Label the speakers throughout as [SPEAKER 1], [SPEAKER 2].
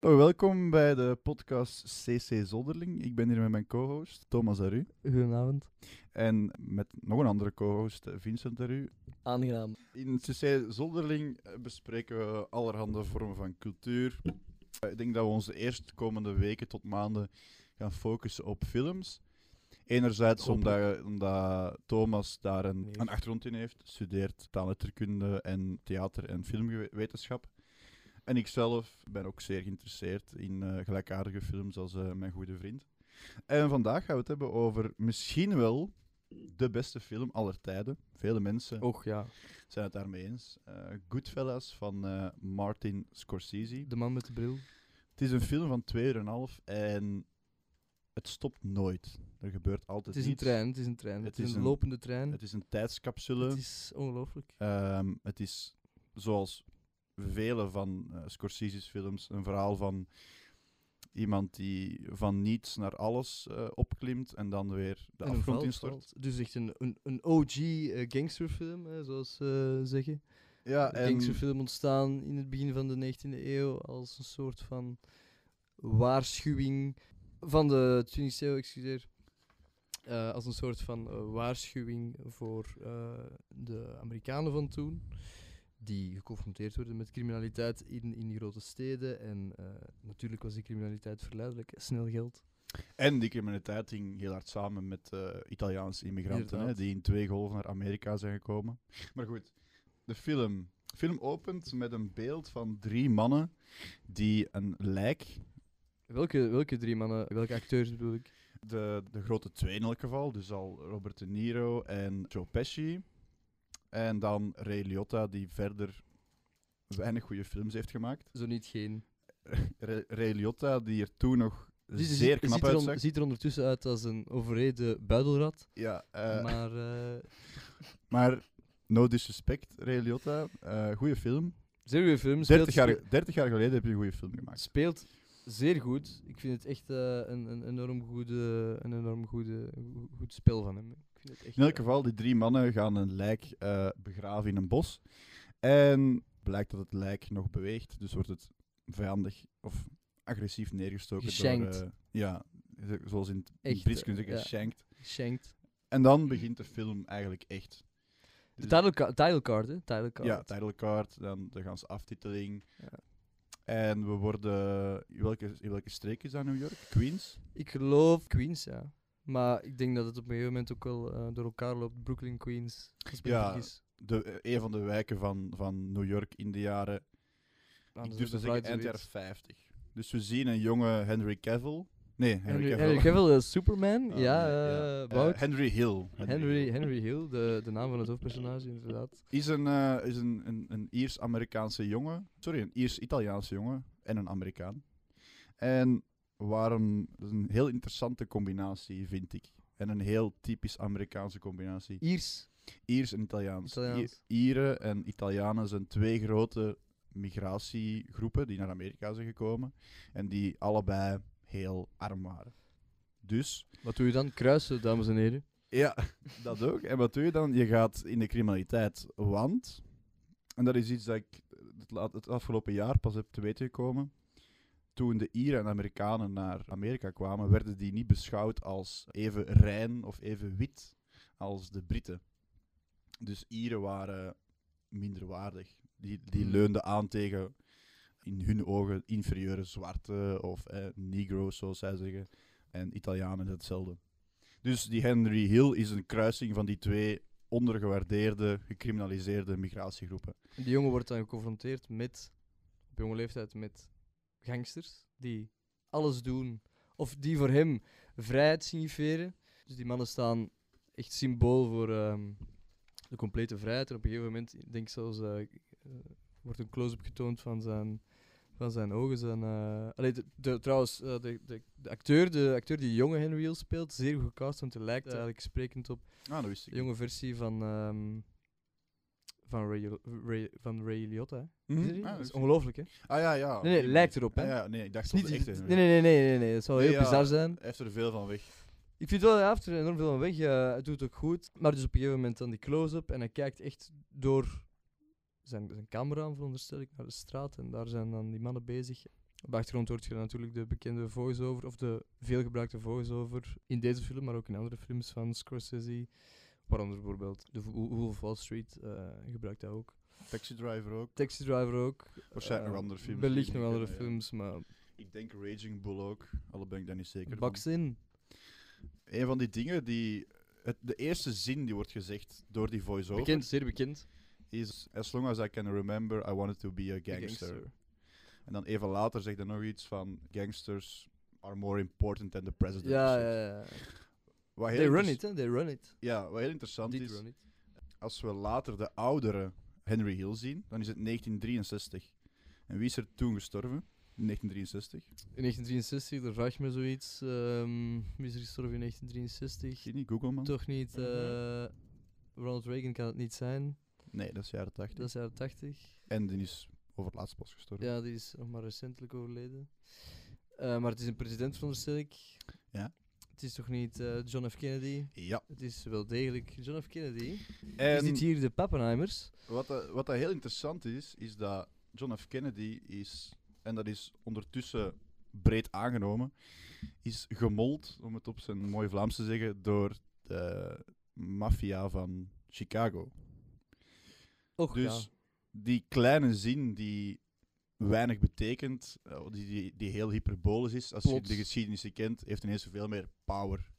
[SPEAKER 1] Nou, welkom bij de podcast CC Zolderling. Ik ben hier met mijn co-host Thomas Aru
[SPEAKER 2] Goedenavond.
[SPEAKER 1] en met nog een andere co-host Vincent Aru.
[SPEAKER 2] Aangenaam.
[SPEAKER 1] In CC Zolderling eh, bespreken we allerhande vormen van cultuur. Eh, Ik denk dat we ons de eerstkomende weken tot maanden gaan focussen op films. Enerzijds omdat, omdat Thomas daar een,
[SPEAKER 2] Nee.
[SPEAKER 1] een achtergrond in heeft, studeert taalletterkunde en theater- en filmwetenschap. En ikzelf ben ook zeer geïnteresseerd in eh, gelijkaardige films als eh, mijn goede vriend. En vandaag gaan we het hebben over misschien wel de beste film aller tijden. Vele mensen
[SPEAKER 2] Och ja,
[SPEAKER 1] zijn het daarmee eens. Eh, Goodfellas van eh, Martin Scorsese.
[SPEAKER 2] de man met de bril.
[SPEAKER 1] Het is een film van 2,5 uur en, half en het stopt nooit. Er gebeurt altijd
[SPEAKER 2] Het is een
[SPEAKER 1] iets.
[SPEAKER 2] trein, het is een trein. Het, is een, lopende trein.
[SPEAKER 1] Het is een tijdscapsule.
[SPEAKER 2] Het is ongelooflijk.
[SPEAKER 1] Ehm, het is zoals vele van eh, Scorsese's films een verhaal van iemand die van niets naar alles eh, opklimt en dan weer de
[SPEAKER 2] En een
[SPEAKER 1] afgrond
[SPEAKER 2] veld
[SPEAKER 1] instort.
[SPEAKER 2] valt. Dus echt een, een, een OG eh, gangsterfilm, hè, zoals ze zeggen.
[SPEAKER 1] Ja,
[SPEAKER 2] De
[SPEAKER 1] en
[SPEAKER 2] Gangsterfilm ontstaan in het begin van de 19e eeuw als een soort van waarschuwing van de 20e eeuw, excuseer. Eh, als een soort van eh, waarschuwing voor eh, de Amerikanen van toen. Die geconfronteerd werden met criminaliteit in, in die grote steden. En eh, natuurlijk was die criminaliteit verleidelijk. Snel geld.
[SPEAKER 1] En die criminaliteit hing heel hard samen met eh, Italiaanse immigranten, hè,
[SPEAKER 2] Inderdaad.
[SPEAKER 1] die in twee golven naar Amerika zijn gekomen. Maar goed, de film. De film opent met een beeld van drie mannen die een lijk,
[SPEAKER 2] Welke, welke drie mannen, welke acteurs bedoel ik?
[SPEAKER 1] de, de grote twee in elk geval, dus al Robert De Niro en Joe Pesci. En dan Ray Liotta, die verder weinig goede films heeft gemaakt.
[SPEAKER 2] Zo niet geen.
[SPEAKER 1] Ray, Ray Liotta, die er toen nog
[SPEAKER 2] Dus ze
[SPEAKER 1] zeer
[SPEAKER 2] ziet-
[SPEAKER 1] knap
[SPEAKER 2] ziet er on-
[SPEAKER 1] uitzag.
[SPEAKER 2] ziet er ondertussen uit als een overreden buidelrat.
[SPEAKER 1] Ja, eh,
[SPEAKER 2] Maar eh,
[SPEAKER 1] Maar no disrespect, Ray Liotta. eh goede film.
[SPEAKER 2] zeer goede film.
[SPEAKER 1] 30
[SPEAKER 2] Speelt,
[SPEAKER 1] jaar, Ah, 30 jaar geleden heb je een goede film gemaakt.
[SPEAKER 2] speelt zeer goed. Ik vind het echt eh, een, een enorm, goede, een enorm goede, go- goed spel van hem. Ik vind het echt,
[SPEAKER 1] In elk
[SPEAKER 2] eh,
[SPEAKER 1] geval, die drie mannen gaan een lijk eh, begraven in een bos. En blijkt dat het lijk nog beweegt. Dus wordt het vijandig of agressief neergestoken.
[SPEAKER 2] Geshankt.
[SPEAKER 1] Door, eh, ja, ze- zoals in het
[SPEAKER 2] Echt,
[SPEAKER 1] Brits
[SPEAKER 2] eh,
[SPEAKER 1] kunnen zeggen,
[SPEAKER 2] ja.
[SPEAKER 1] geshankt.
[SPEAKER 2] Shanked.
[SPEAKER 1] En dan begint de film eigenlijk echt.
[SPEAKER 2] De titlecard, titlecard hè? Titlecard.
[SPEAKER 1] Ja, title card, dan, dan gaan ze aftiteling.
[SPEAKER 2] Ja.
[SPEAKER 1] En we worden... In welke, in welke streek is dat New York? Queens?
[SPEAKER 2] Ik geloof Queens, ja. Maar ik denk dat het op een gegeven moment ook wel eh, door elkaar loopt. Brooklyn, Queens. Als ik me
[SPEAKER 1] Ja,
[SPEAKER 2] niet vergis.
[SPEAKER 1] de, eh, een van de wijken van, van New York in de jaren, dus
[SPEAKER 2] Anders
[SPEAKER 1] ik durf
[SPEAKER 2] is
[SPEAKER 1] te
[SPEAKER 2] het
[SPEAKER 1] zeggen
[SPEAKER 2] Bright
[SPEAKER 1] eind jaren
[SPEAKER 2] zoiets.
[SPEAKER 1] 50. Dus we zien een jonge Henry Cavill. Nee, Henry,
[SPEAKER 2] Henry,
[SPEAKER 1] Cavill.
[SPEAKER 2] Henry Cavill, eh, Superman.
[SPEAKER 1] Ah,
[SPEAKER 2] ja,
[SPEAKER 1] nee,
[SPEAKER 2] eh,
[SPEAKER 1] Eh,
[SPEAKER 2] Wout.
[SPEAKER 1] Henry Hill.
[SPEAKER 2] Henry,
[SPEAKER 1] Hill.
[SPEAKER 2] Henry Hill, de, de naam van het hoofdpersonage, inderdaad.
[SPEAKER 1] Is een, eh, is een, een, een Iers-Amerikaanse jongen. Sorry, een Iers-Italiaanse jongen en een Amerikaan. En waarom... Dat is een heel interessante combinatie, vind ik. En een heel typisch Amerikaanse combinatie.
[SPEAKER 2] Iers.
[SPEAKER 1] Iers en Italiaans.
[SPEAKER 2] Italiaans.
[SPEAKER 1] I- Ieren en Italianen zijn twee grote migratiegroepen die naar Amerika zijn gekomen. En die allebei heel arm waren. Dus,
[SPEAKER 2] Wat doe je dan? Kruisen, dames en heren.
[SPEAKER 1] ja, dat ook. En wat doe je dan? Je gaat in de criminaliteit, want... En dat is iets dat ik het, la- het afgelopen jaar pas heb te weten gekomen. Toen de Ieren en Amerikanen naar Amerika kwamen, werden die niet beschouwd als even rein of even wit als de Britten. Dus Ieren waren minderwaardig. Die, die
[SPEAKER 2] Hmm.
[SPEAKER 1] leunden aan tegen in hun ogen inferieure zwarte of eh, negro's, zoals zij zeggen. En Italianen hetzelfde. Dus die Henry Hill is een kruising van die twee ondergewaardeerde, gecriminaliseerde migratiegroepen.
[SPEAKER 2] Die jongen wordt dan geconfronteerd met, op jonge leeftijd, met gangsters die alles doen. Of die voor hem vrijheid signiferen. Dus die mannen staan echt symbool voor ehm, de complete vrijheid. En op een gegeven moment, ik denk zelfs, eh, eh, wordt een close-up getoond van zijn, van zijn ogen. Zijn, eh, allee, de, de- trouwens, eh, de, de, de acteur, de acteur die de jonge Henry Hill speelt, zeer goed cast, want hij lijkt eigenlijk sprekend op
[SPEAKER 1] Ah, dat wist
[SPEAKER 2] de
[SPEAKER 1] ik.
[SPEAKER 2] jonge versie van, ehm, van, Ray, Ray- van Ray Liotta. hè.
[SPEAKER 1] Mhm.
[SPEAKER 2] Is er
[SPEAKER 1] Ah, dat
[SPEAKER 2] die? Hmm? dat is
[SPEAKER 1] wist ik.
[SPEAKER 2] ongelooflijk, hè?
[SPEAKER 1] Ah ja, ja. op
[SPEAKER 2] Nee, nee,
[SPEAKER 1] die
[SPEAKER 2] lijkt
[SPEAKER 1] manier.
[SPEAKER 2] erop, hè?
[SPEAKER 1] Ah, ja, nee, ik dacht
[SPEAKER 2] Is
[SPEAKER 1] van
[SPEAKER 2] niet,
[SPEAKER 1] de echte
[SPEAKER 2] nee,
[SPEAKER 1] Henry.
[SPEAKER 2] nee, nee, nee, nee, nee, dat zou
[SPEAKER 1] Nee,
[SPEAKER 2] heel
[SPEAKER 1] ja,
[SPEAKER 2] bizar zijn.
[SPEAKER 1] Hij heeft er veel van weg.
[SPEAKER 2] Ik vind wel, hij heeft er enorm veel van weg. eh, het doet het ook goed. Maar dus op een gegeven moment dan die close-up en hij kijkt echt door zijn, zijn camera aan, veronderstel ik, naar de straat. En daar zijn dan die mannen bezig. Op de achtergrond hoort je natuurlijk de bekende voice-over, of de veelgebruikte voice-over in deze film, maar ook in andere films van Scorsese. Waaronder bijvoorbeeld The Wo- Wolf of Wall Street eh, gebruikt hij ook.
[SPEAKER 1] Taxi Driver ook.
[SPEAKER 2] Taxi Driver ook.
[SPEAKER 1] Waarschijnlijk
[SPEAKER 2] Eh,
[SPEAKER 1] nog andere films die
[SPEAKER 2] Wellicht
[SPEAKER 1] ik
[SPEAKER 2] nog
[SPEAKER 1] niet
[SPEAKER 2] andere
[SPEAKER 1] ken, ja.
[SPEAKER 2] films, maar
[SPEAKER 1] Ik denk Raging Bull ook, al ben ik daar niet zeker van.
[SPEAKER 2] baks in.
[SPEAKER 1] Een van die dingen die... het- de eerste zin die wordt gezegd door die voice-over
[SPEAKER 2] Bekend, zeer bekend.
[SPEAKER 1] is... As long as I can remember, I wanted to be a
[SPEAKER 2] De
[SPEAKER 1] gangster. Dus En dan even later zegt hij nog iets van gangsters are more important than the president.
[SPEAKER 2] Ja,
[SPEAKER 1] of
[SPEAKER 2] ja,
[SPEAKER 1] zoiets.
[SPEAKER 2] ja.
[SPEAKER 1] Ah, Wat heel
[SPEAKER 2] They run
[SPEAKER 1] inter-
[SPEAKER 2] it, hè. They run it.
[SPEAKER 1] Ja, wat heel interessant
[SPEAKER 2] Did
[SPEAKER 1] dus is,
[SPEAKER 2] run it.
[SPEAKER 1] als we later de oudere Henry Hill zien, dan is het 1963. En wie is er toen gestorven? In 1963?
[SPEAKER 2] In 1963, daar vraag je me zoiets. ehm wie is er gestorven in 1963?
[SPEAKER 1] Zie je niet, Google man?
[SPEAKER 2] Toch niet.
[SPEAKER 1] Mhm.
[SPEAKER 2] eh, Ronald Reagan kan het niet zijn.
[SPEAKER 1] Nee, dat is jaren 80.
[SPEAKER 2] Dat is jaren 80.
[SPEAKER 1] En die is over laatst pas gestorven.
[SPEAKER 2] Ja, die is nog maar recentelijk overleden. Eh, maar het is een president, veronderstel ik.
[SPEAKER 1] Ja.
[SPEAKER 2] E Het is toch niet eh, John F. Kennedy?
[SPEAKER 1] Ja.
[SPEAKER 2] Het is wel degelijk John F. Kennedy. Is
[SPEAKER 1] En
[SPEAKER 2] dit hier de Pappenheimers?
[SPEAKER 1] wat, dat- wat dat heel interessant is, is dat John F. Kennedy is, en dat is ondertussen breed aangenomen, is gemold, om het op zijn mooi Vlaams te zeggen, door de maffia van Chicago.
[SPEAKER 2] Och,
[SPEAKER 1] Dus
[SPEAKER 2] ja.
[SPEAKER 1] die kleine zin die weinig betekent, eh, die, die, die heel hyperbolisch is, als
[SPEAKER 2] Plots.
[SPEAKER 1] je de geschiedenis niet kent, heeft ineens veel meer power.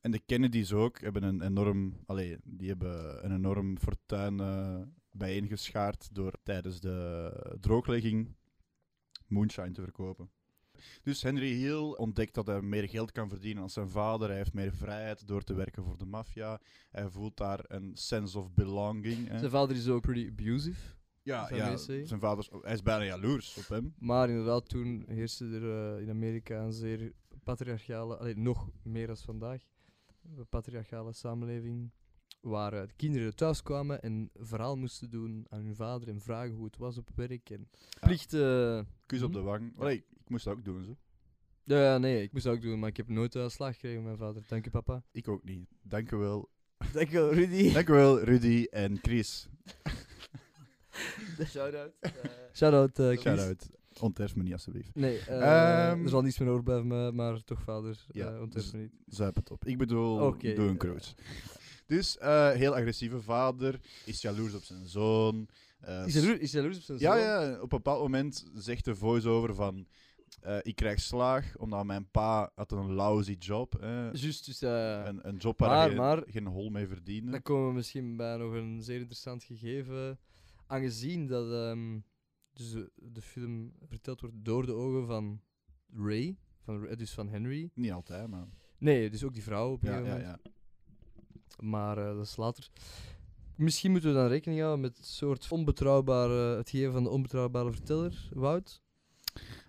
[SPEAKER 1] En de Kennedys ook hebben een enorm, allee, die hebben een enorm fortuin eh, bijeengeschaard door tijdens de drooglegging moonshine te verkopen. Dus Henry Hill ontdekt dat hij meer geld kan verdienen dan zijn vader. Hij heeft meer vrijheid door te werken voor de maffia. Hij voelt daar een sense of belonging. hè.
[SPEAKER 2] Zijn vader is ook pretty abusive.
[SPEAKER 1] Ja,
[SPEAKER 2] Zijn
[SPEAKER 1] ja
[SPEAKER 2] mensen.
[SPEAKER 1] zijn vader, is- hij is bijna jaloers op hem.
[SPEAKER 2] Maar inderdaad, toen heerste er eh, in Amerika een zeer patriarchale, allee, nog meer als vandaag, een patriarchale samenleving. Waar eh, de kinderen thuis kwamen en een verhaal moesten doen aan hun vader en vragen hoe het was op werk. En plichten.
[SPEAKER 1] Kus op
[SPEAKER 2] Hm?
[SPEAKER 1] de wang. Allee, ik moest dat ook doen. Zo.
[SPEAKER 2] Ja, ja, nee, ik moest dat ook doen, maar ik heb nooit uitslag gekregen van mijn vader. Dank je, papa.
[SPEAKER 1] Ik ook niet. Dank u wel.
[SPEAKER 2] Dank je, Rudy.
[SPEAKER 1] Dank u wel, Rudy en Chris.
[SPEAKER 2] Shout-out. Shout-out, eh, Chris.
[SPEAKER 1] Shout-out. Onterf me niet, alsjeblieft.
[SPEAKER 2] Nee, eh,
[SPEAKER 1] Ehm.
[SPEAKER 2] er zal niets meer overblijven, maar, maar toch vader,
[SPEAKER 1] Ja,
[SPEAKER 2] ja,
[SPEAKER 1] dus-
[SPEAKER 2] me niet.
[SPEAKER 1] Zuip het op. Ik bedoel,
[SPEAKER 2] Oké,
[SPEAKER 1] doe een
[SPEAKER 2] eh.
[SPEAKER 1] cruise. Dus, eh, heel agressieve vader. Is jaloers op zijn zoon. eh,
[SPEAKER 2] Is hij jaloers- is hij jaloers op zijn
[SPEAKER 1] Ja,
[SPEAKER 2] zoon?
[SPEAKER 1] ja, op een bepaald moment zegt de voice-over van... eh, ik krijg slaag, omdat mijn pa had een lousy job. hè.
[SPEAKER 2] Juist, dus eh,
[SPEAKER 1] een, een job waar
[SPEAKER 2] maar-
[SPEAKER 1] hij geen-
[SPEAKER 2] maar-
[SPEAKER 1] geen hol mee verdiende.
[SPEAKER 2] Dan komen we misschien bij nog een zeer interessant gegeven. Aangezien dat ehm, dus de, de film verteld wordt door de ogen van Ray, van, Ra- dus van Henry.
[SPEAKER 1] Niet altijd, maar...
[SPEAKER 2] Nee, dus ook die vrouw op een
[SPEAKER 1] Ja,
[SPEAKER 2] gegeven
[SPEAKER 1] ja,
[SPEAKER 2] moment.
[SPEAKER 1] ja.
[SPEAKER 2] Maar eh, dat is later. Misschien moeten we dan rekening houden met het soort onbetrouwbare, het geven van de onbetrouwbare verteller, Wout.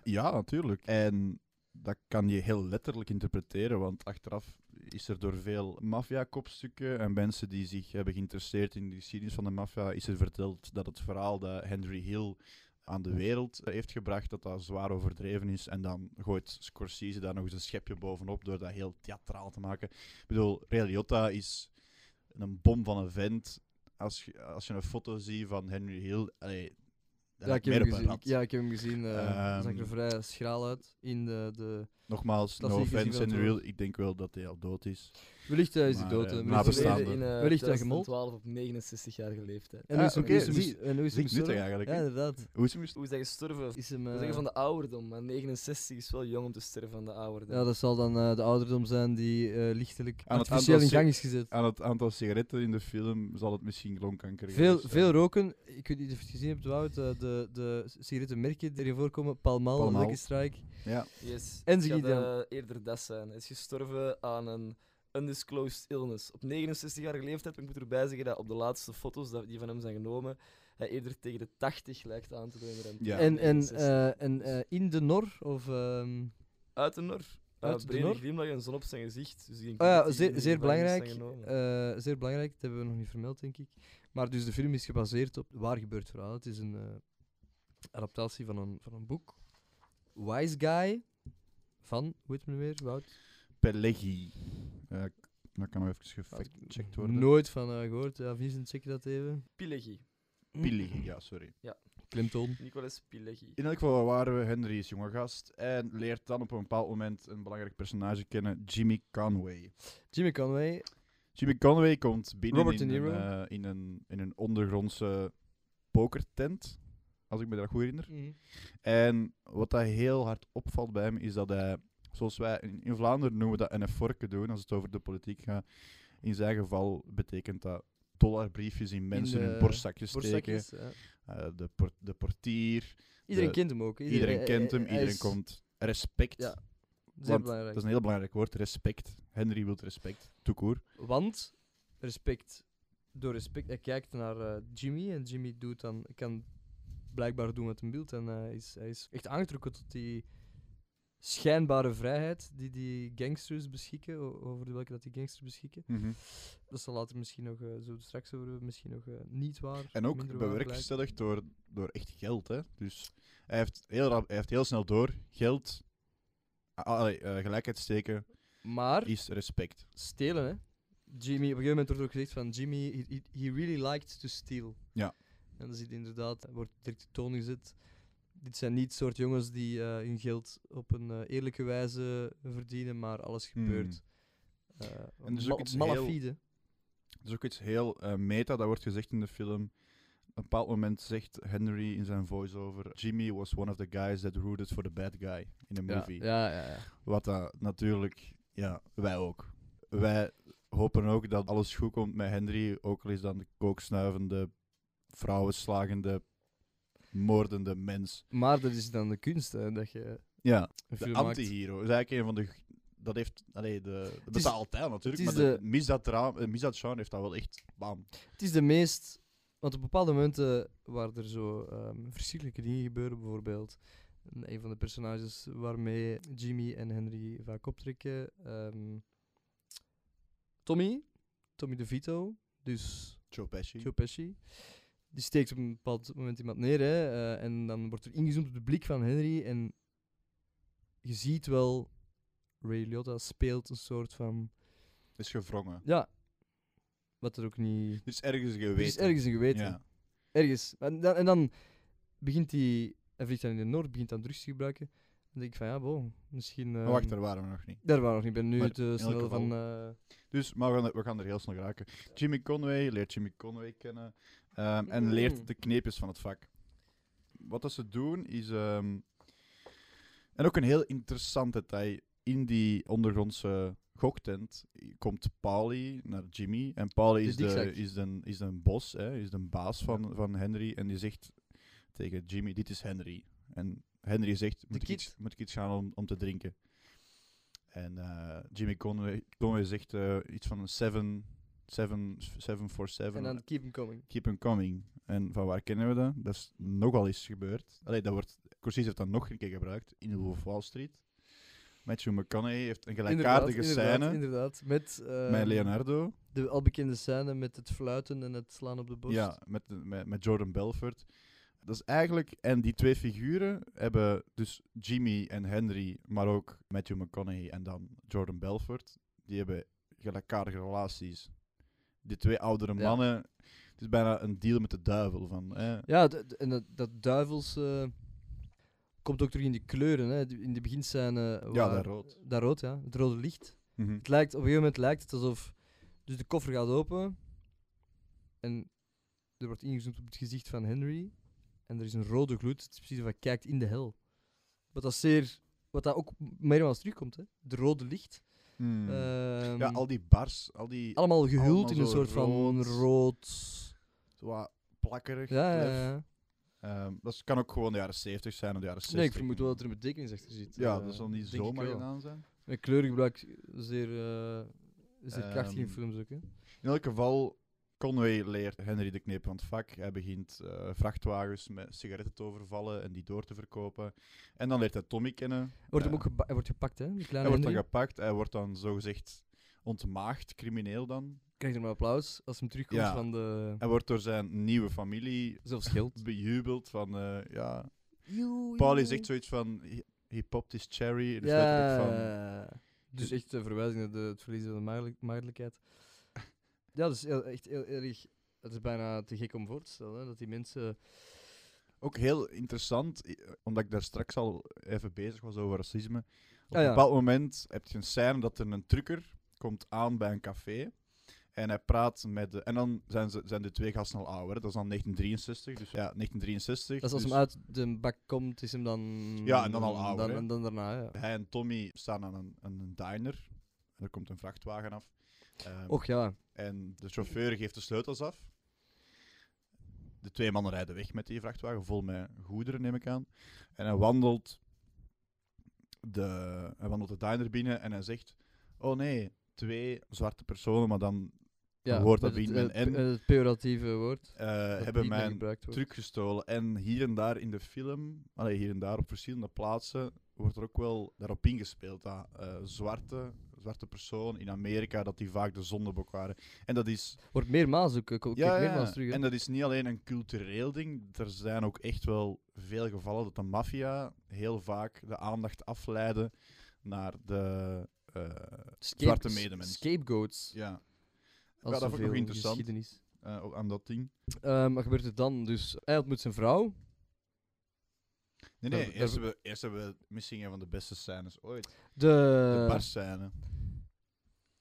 [SPEAKER 1] Ja, natuurlijk. En dat kan je heel letterlijk interpreteren, want achteraf is er door veel maffia-kopstukken en mensen die zich hebben geïnteresseerd in de geschiedenis van de maffia, is er verteld dat het verhaal dat Henry Hill aan de wereld heeft gebracht, dat dat zwaar overdreven is. En dan gooit Scorsese daar nog eens een schepje bovenop door dat heel theatraal te maken. Ik bedoel, Ray Liotta is een bom van een vent. Als je, als je een foto ziet van Henry Hill, allee, dan
[SPEAKER 2] Ja, ik
[SPEAKER 1] lijkt
[SPEAKER 2] heb
[SPEAKER 1] meer
[SPEAKER 2] hem
[SPEAKER 1] op een
[SPEAKER 2] gezien. Ik-
[SPEAKER 1] rat.
[SPEAKER 2] ja, ik heb hem gezien. eh, hij zag
[SPEAKER 1] Ehm.
[SPEAKER 2] er vrij schraal uit. In de, de...
[SPEAKER 1] Nogmaals,
[SPEAKER 2] Dat
[SPEAKER 1] no
[SPEAKER 2] zie ik
[SPEAKER 1] offense
[SPEAKER 2] gezien
[SPEAKER 1] in
[SPEAKER 2] wel
[SPEAKER 1] real. Ik denk wel dat hij al dood is.
[SPEAKER 2] Wellicht eh, is hij
[SPEAKER 1] Maar,
[SPEAKER 2] dood.
[SPEAKER 1] eh,
[SPEAKER 2] eh, wellicht-
[SPEAKER 1] nabestaanden.
[SPEAKER 3] Overleden in eh,
[SPEAKER 2] Wellicht hij gemold.
[SPEAKER 3] 2012 op 69-jarige leeftijd.
[SPEAKER 2] En hoe is
[SPEAKER 1] Ah,
[SPEAKER 2] hem-
[SPEAKER 1] oké,
[SPEAKER 2] hoe is hem-
[SPEAKER 1] zie-
[SPEAKER 2] en hoe is
[SPEAKER 1] Zie
[SPEAKER 2] hem
[SPEAKER 1] ik nuttig
[SPEAKER 2] gestorven?
[SPEAKER 1] eigenlijk.
[SPEAKER 2] Ja,
[SPEAKER 1] hè?
[SPEAKER 2] inderdaad.
[SPEAKER 1] Hoe is hem gest-
[SPEAKER 3] Hoe is hij gestorven?
[SPEAKER 2] Is hem,
[SPEAKER 3] We
[SPEAKER 2] eh,
[SPEAKER 3] zeggen van de ouderdom, maar 69 is wel jong om te sterven van de ouderdom.
[SPEAKER 2] ja, dat zal dan eh, de ouderdom zijn die eh, lichtelijk
[SPEAKER 1] Aan het Ah,
[SPEAKER 2] artificieel in
[SPEAKER 1] aantal
[SPEAKER 2] gang is gezet.
[SPEAKER 1] Aan het aantal sigaretten in de film zal het misschien longkanker
[SPEAKER 2] Veel,
[SPEAKER 1] geweest zijn.
[SPEAKER 2] veel roken, ik weet niet of je het gezien hebt, Wout, eh, de, de sigarettenmerken die erin voorkomen, Pall Mall,
[SPEAKER 1] Pall Mall.
[SPEAKER 2] Lucky Strike.
[SPEAKER 1] Ja,
[SPEAKER 3] Yes.
[SPEAKER 2] En
[SPEAKER 3] het
[SPEAKER 2] ze
[SPEAKER 3] gaat,
[SPEAKER 2] giet dan.
[SPEAKER 3] eh, eerder dat zijn. Hij is gestorven aan een undisclosed illness. Op 69-jarige leeftijd, maar ik moet erbij zeggen dat op de laatste foto's dat- die van hem zijn genomen, hij eerder tegen de 80 lijkt aan te leunen. dan
[SPEAKER 1] Ja.
[SPEAKER 2] En, en,
[SPEAKER 3] 69.
[SPEAKER 2] eh, en eh, in de Nor, of... ehm,
[SPEAKER 3] Uit de nor. Eh,
[SPEAKER 2] Uit de
[SPEAKER 3] brede
[SPEAKER 2] nor?
[SPEAKER 3] glimlach en zon op zijn gezicht. Dus ik denk
[SPEAKER 2] oh
[SPEAKER 3] dat
[SPEAKER 2] ja,
[SPEAKER 3] die
[SPEAKER 2] zeer,
[SPEAKER 3] in
[SPEAKER 2] zeer,
[SPEAKER 3] gevangenis zijn
[SPEAKER 2] belangrijk,
[SPEAKER 3] genomen.
[SPEAKER 2] eh, zeer belangrijk, dat hebben we nog niet vermeld, denk ik. Maar dus de film is gebaseerd op waar gebeurt verhaal. Het is een eh, adaptatie van een, van een boek. Wise Guy, van, hoe heet het nu weer, Wout?
[SPEAKER 1] Pelleggi. Eh, k- dat kan nog even
[SPEAKER 2] Had ik
[SPEAKER 1] gefactcheckt worden.
[SPEAKER 2] Nooit van eh, gehoord. Ja, Vincent, check dat even.
[SPEAKER 3] Pileggi.
[SPEAKER 1] Pelleggi, ja, sorry.
[SPEAKER 2] Klimtoon.
[SPEAKER 3] Nicolas Pileggi.
[SPEAKER 1] In elk geval waren we, Henry is jonge gast en leert dan op een bepaald moment een belangrijk personage kennen, Jimmy Conway.
[SPEAKER 2] Jimmy Conway.
[SPEAKER 1] Jimmy Conway komt binnen
[SPEAKER 2] Robert
[SPEAKER 1] in,
[SPEAKER 2] De
[SPEAKER 1] een,
[SPEAKER 2] Niro.
[SPEAKER 1] eh, in, een, in een ondergrondse pokertent, als ik me dat goed herinner. En wat dat heel hard opvalt bij hem is dat hij, zoals wij in, in Vlaanderen noemen we dat een vorken doen, als het over de politiek gaat. In zijn geval betekent dat dollarbriefjes in mensen hun
[SPEAKER 2] de
[SPEAKER 1] borstzakjes steken.
[SPEAKER 2] Borstzakjes, ja.
[SPEAKER 1] Eh, de, por- de portier,
[SPEAKER 2] Iedereen
[SPEAKER 1] De-
[SPEAKER 2] kent hem ook.
[SPEAKER 1] iedereen, kent hem,
[SPEAKER 2] eh, hij
[SPEAKER 1] iedereen
[SPEAKER 2] is
[SPEAKER 1] komt. Respect,
[SPEAKER 2] Ja, Zeer
[SPEAKER 1] want
[SPEAKER 2] belangrijk.
[SPEAKER 1] dat is een heel belangrijk woord, respect. Henry wil respect, toekoor.
[SPEAKER 2] Want respect. Door respect. Hij kijkt naar eh, Jimmy en Jimmy doet dan, kan blijkbaar doen met een beeld. En eh, hij is, hij is echt aangetrokken tot die schijnbare vrijheid die die gangsters beschikken. o- Over de welke dat die gangsters beschikken. Dat zal later misschien nog, eh, zo straks over hebben, misschien nog eh, niet waar.
[SPEAKER 1] En ook
[SPEAKER 2] minder waar blijkt.
[SPEAKER 1] bewerkstelligd door, door echt geld. Hè? Dus hij heeft, heel rap, hij heeft heel snel door, geld, ah, allee, eh, gelijkheid steken,
[SPEAKER 2] Maar
[SPEAKER 1] is respect.
[SPEAKER 2] stelen, hè. Jimmy, op een gegeven moment wordt er ook gezegd van Jimmy, he, he- he really liked to steal.
[SPEAKER 1] Ja.
[SPEAKER 2] En dan zit inderdaad, er wordt direct de toon gezet. Dit zijn niet soort jongens die eh, hun geld op een eh, eerlijke wijze verdienen, maar alles
[SPEAKER 1] Hmm.
[SPEAKER 2] gebeurt. Eh,
[SPEAKER 1] En er is
[SPEAKER 2] ma-
[SPEAKER 1] ook iets
[SPEAKER 2] malafide.
[SPEAKER 1] Er is ook iets heel eh, meta dat wordt gezegd in de film. Op een bepaald moment zegt Henry in zijn voice-over: Jimmy was one of the guys that rooted for the bad guy in a
[SPEAKER 2] Ja,
[SPEAKER 1] movie.
[SPEAKER 2] ja, ja, ja.
[SPEAKER 1] Wat dat natuurlijk, ja, wij ook. Wij hopen ook dat alles goed komt met Henry, ook al is dan de kooksnuivende, vrouwenslagende, moordende mens.
[SPEAKER 2] Maar dat is dan de kunst, hè, dat je
[SPEAKER 1] Ja,
[SPEAKER 2] een
[SPEAKER 1] de
[SPEAKER 2] film maakt.
[SPEAKER 1] anti-hero. is eigenlijk een van de. g- Dat heeft. Allee, de, dat
[SPEAKER 2] is-
[SPEAKER 1] betaalt hè, natuurlijk.
[SPEAKER 2] het
[SPEAKER 1] Maar
[SPEAKER 2] is
[SPEAKER 1] de,
[SPEAKER 2] de-
[SPEAKER 1] misdaadra- eh, misdaadgenre heeft dat wel echt. Bam.
[SPEAKER 2] Het is de meest. Want op bepaalde momenten waar er zo ehm, verschrikkelijke dingen gebeuren, bijvoorbeeld. En Een van de personages waarmee Jimmy en Henry vaak optrekken. ehm, Tommy, Tommy DeVito, dus
[SPEAKER 1] Joe Pesci.
[SPEAKER 2] Joe Pesci. Die steekt op een bepaald moment iemand neer. Hè, eh, en dan wordt er ingezoomd op de blik van Henry. En je ziet wel, Ray Liotta speelt een soort van.
[SPEAKER 1] Is gewrongen.
[SPEAKER 2] Ja, wat er ook niet.
[SPEAKER 1] Dus ergens geweten.
[SPEAKER 2] Er is ergens een geweten.
[SPEAKER 1] Ja.
[SPEAKER 2] Ergens. En dan, en dan begint hij, hij vliegt dan in de Noord, begint dan drugs te gebruiken. Dan denk ik van ja, bon, misschien.
[SPEAKER 1] Maar
[SPEAKER 2] ehm,
[SPEAKER 1] wacht, daar waren we nog niet.
[SPEAKER 2] Daar waren we nog niet. Ik ben nu
[SPEAKER 1] Maar
[SPEAKER 2] te
[SPEAKER 1] elk
[SPEAKER 2] snel
[SPEAKER 1] geval-
[SPEAKER 2] van. eh,
[SPEAKER 1] Dus, maar we gaan, we gaan er heel snel raken. Jimmy Conway leert Jimmy Conway kennen ehm, en leert
[SPEAKER 2] Mhm.
[SPEAKER 1] de kneepjes van het vak. Wat dat ze doen is. ehm, en ook een heel interessant detail. In die ondergrondse goktent komt Pauli naar Jimmy. En Pauli
[SPEAKER 2] De
[SPEAKER 1] is, de,
[SPEAKER 2] dikzak.
[SPEAKER 1] is, de, is de bos, hè, is de baas van, van Henry. En die zegt tegen Jimmy: Dit is Henry. En Henry zegt: Moet, ik
[SPEAKER 2] kid.
[SPEAKER 1] iets, moet ik iets gaan om, om te drinken? En eh, Jimmy Conway, Conway zegt eh, iets van een 7 seven, seven for
[SPEAKER 2] en
[SPEAKER 1] 7.
[SPEAKER 2] dan keep him coming.
[SPEAKER 1] Keep 'em coming. En van waar kennen we dat? Dat is nogal eens gebeurd. Allee, dat wordt, Corsese heeft dat nog een keer gebruikt in Wolf of Wall Street. Matthew McConaughey heeft een
[SPEAKER 2] Inderdaad,
[SPEAKER 1] gelijkaardige
[SPEAKER 2] inderdaad,
[SPEAKER 1] scène
[SPEAKER 2] Inderdaad, met. eh,
[SPEAKER 1] met Leonardo.
[SPEAKER 2] De albekende scène met het fluiten en het slaan op de borst.
[SPEAKER 1] Ja, met, met, met Jordan Belfort. Dat is eigenlijk, en die twee figuren hebben dus Jimmy en Henry, maar ook Matthew McConaughey en dan Jordan Belfort, die hebben gelijkaardige relaties. Die twee oudere
[SPEAKER 2] Ja.
[SPEAKER 1] mannen, het is bijna een deal met de duivel. Van, eh,
[SPEAKER 2] Ja, d- d- en dat, dat duivels. eh, komt ook terug in die kleuren. Hè. In de beginscène. eh,
[SPEAKER 1] ja,
[SPEAKER 2] waar-
[SPEAKER 1] dat rood.
[SPEAKER 2] Dat rood, ja. Het rode licht.
[SPEAKER 1] Mhm.
[SPEAKER 2] Het lijkt, op een gegeven moment lijkt het alsof. Dus de koffer gaat open. En er wordt ingezoomd op het gezicht van Henry. En er is een rode gloed. Het is precies of hij kijkt in de hel. Wat dat zeer. Wat dat ook meermaals terugkomt, hè? Het rode licht.
[SPEAKER 1] Hmm.
[SPEAKER 2] Ehm,
[SPEAKER 1] ja, al die bars, al die
[SPEAKER 2] allemaal gehuld
[SPEAKER 1] allemaal
[SPEAKER 2] in een
[SPEAKER 1] zo
[SPEAKER 2] soort van
[SPEAKER 1] rood.
[SPEAKER 2] rood.
[SPEAKER 1] zo wat plakkerig.
[SPEAKER 2] Ja, ja,
[SPEAKER 1] lef.
[SPEAKER 2] ja.
[SPEAKER 1] Ehm, dat is- kan ook gewoon de jaren 70 zijn of de jaren 60.
[SPEAKER 2] Nee, ik vermoed wel dat er een betekenis achter zit.
[SPEAKER 1] Ja,
[SPEAKER 2] eh,
[SPEAKER 1] dat zal niet
[SPEAKER 2] denk ik
[SPEAKER 1] zomaar
[SPEAKER 2] wel.
[SPEAKER 1] gedaan zijn.
[SPEAKER 2] Met kleurgebruik zeer, eh, zeer krachtig in
[SPEAKER 1] Ehm,
[SPEAKER 2] films ook, hè?
[SPEAKER 1] In elk geval, Conway leert Henry de kneep van het vak. Hij begint eh, vrachtwagens met sigaretten te overvallen en die door te verkopen. En dan leert hij Tommy kennen.
[SPEAKER 2] Wordt
[SPEAKER 1] ja.
[SPEAKER 2] hem ook geba- hij wordt gepakt, hè? De
[SPEAKER 1] hij
[SPEAKER 2] kleine
[SPEAKER 1] wordt
[SPEAKER 2] Henry.
[SPEAKER 1] dan gepakt. Hij wordt dan zogezegd ontmaagd, crimineel dan.
[SPEAKER 2] Krijgt er maar applaus als hem terugkomt
[SPEAKER 1] Ja.
[SPEAKER 2] van de...
[SPEAKER 1] Hij wordt door zijn nieuwe familie
[SPEAKER 2] Zelfs geld.
[SPEAKER 1] bejubeld van, eh, ja... Pauli zegt zoiets van, he, he popped his cherry. En dus
[SPEAKER 2] ja.
[SPEAKER 1] letterlijk van,
[SPEAKER 2] Dus echt een verwijzing naar de, het verliezen van de maagdelijk- maagdelijkheid. dus Ja, dat is heel, echt heel erg... Het is bijna te gek om voor te stellen, hè? Dat die mensen...
[SPEAKER 1] Ook heel interessant, i- eh, omdat ik daar straks al even bezig was over racisme. Op
[SPEAKER 2] Ah, ja.
[SPEAKER 1] een bepaald moment heb je een scène dat er een trucker komt aan bij een café. En hij praat met... De, en dan zijn, ze, zijn de twee gasten al ouder. hè. Dat is dan 1963. Dus ja, 1963.
[SPEAKER 2] Dat is als
[SPEAKER 1] dus
[SPEAKER 2] hem uit de bak komt, is hem dan...
[SPEAKER 1] Ja, en dan al ouder,
[SPEAKER 2] Dan,
[SPEAKER 1] hè.
[SPEAKER 2] en dan daarna, ja.
[SPEAKER 1] Hij en Tommy staan aan een, aan een diner. En er komt een vrachtwagen af. Ehm,
[SPEAKER 2] Och ja.
[SPEAKER 1] En de chauffeur geeft de sleutels af. De twee mannen rijden weg met die vrachtwagen, vol met goederen, neem ik aan. En hij wandelt de, hij wandelt de diner binnen en hij zegt... Oh nee, twee zwarte personen, maar dan
[SPEAKER 2] ja
[SPEAKER 1] woord dat
[SPEAKER 2] met het,
[SPEAKER 1] begint met
[SPEAKER 2] eh,
[SPEAKER 1] N.
[SPEAKER 2] pe- eh, het pejoratieve woord.
[SPEAKER 1] eh,
[SPEAKER 2] dat
[SPEAKER 1] hebben
[SPEAKER 2] niet meer
[SPEAKER 1] mijn
[SPEAKER 2] gebruikt wordt.
[SPEAKER 1] truc gestolen. En hier en daar in de film, allee, hier en daar op verschillende plaatsen, wordt er ook wel daarop ingespeeld. Dat eh, zwarte, zwarte personen in Amerika, dat die vaak de zondebok waren. En dat is
[SPEAKER 2] Wordt meermaals ook. Ik, ik kijk meermaals terug. hè.
[SPEAKER 1] en dat is niet alleen een cultureel ding. Er zijn ook echt wel veel gevallen dat de maffia heel vaak de aandacht afleidde naar de eh,
[SPEAKER 2] Scape-
[SPEAKER 1] zwarte medemens.
[SPEAKER 2] Scapegoats.
[SPEAKER 1] ja, dat
[SPEAKER 2] Als
[SPEAKER 1] vond ik
[SPEAKER 2] zoveel
[SPEAKER 1] ook interessant.
[SPEAKER 2] Geschiedenis.
[SPEAKER 1] eh, ook aan dat ding.
[SPEAKER 2] Eh, maar gebeurt het dan? Dus hij ontmoet zijn vrouw.
[SPEAKER 1] Nee,
[SPEAKER 2] Dat-
[SPEAKER 1] nee,
[SPEAKER 2] dat-
[SPEAKER 1] eerst, hebben we, eerst hebben we misschien een van de beste scènes ooit.
[SPEAKER 2] De,
[SPEAKER 1] de barscène.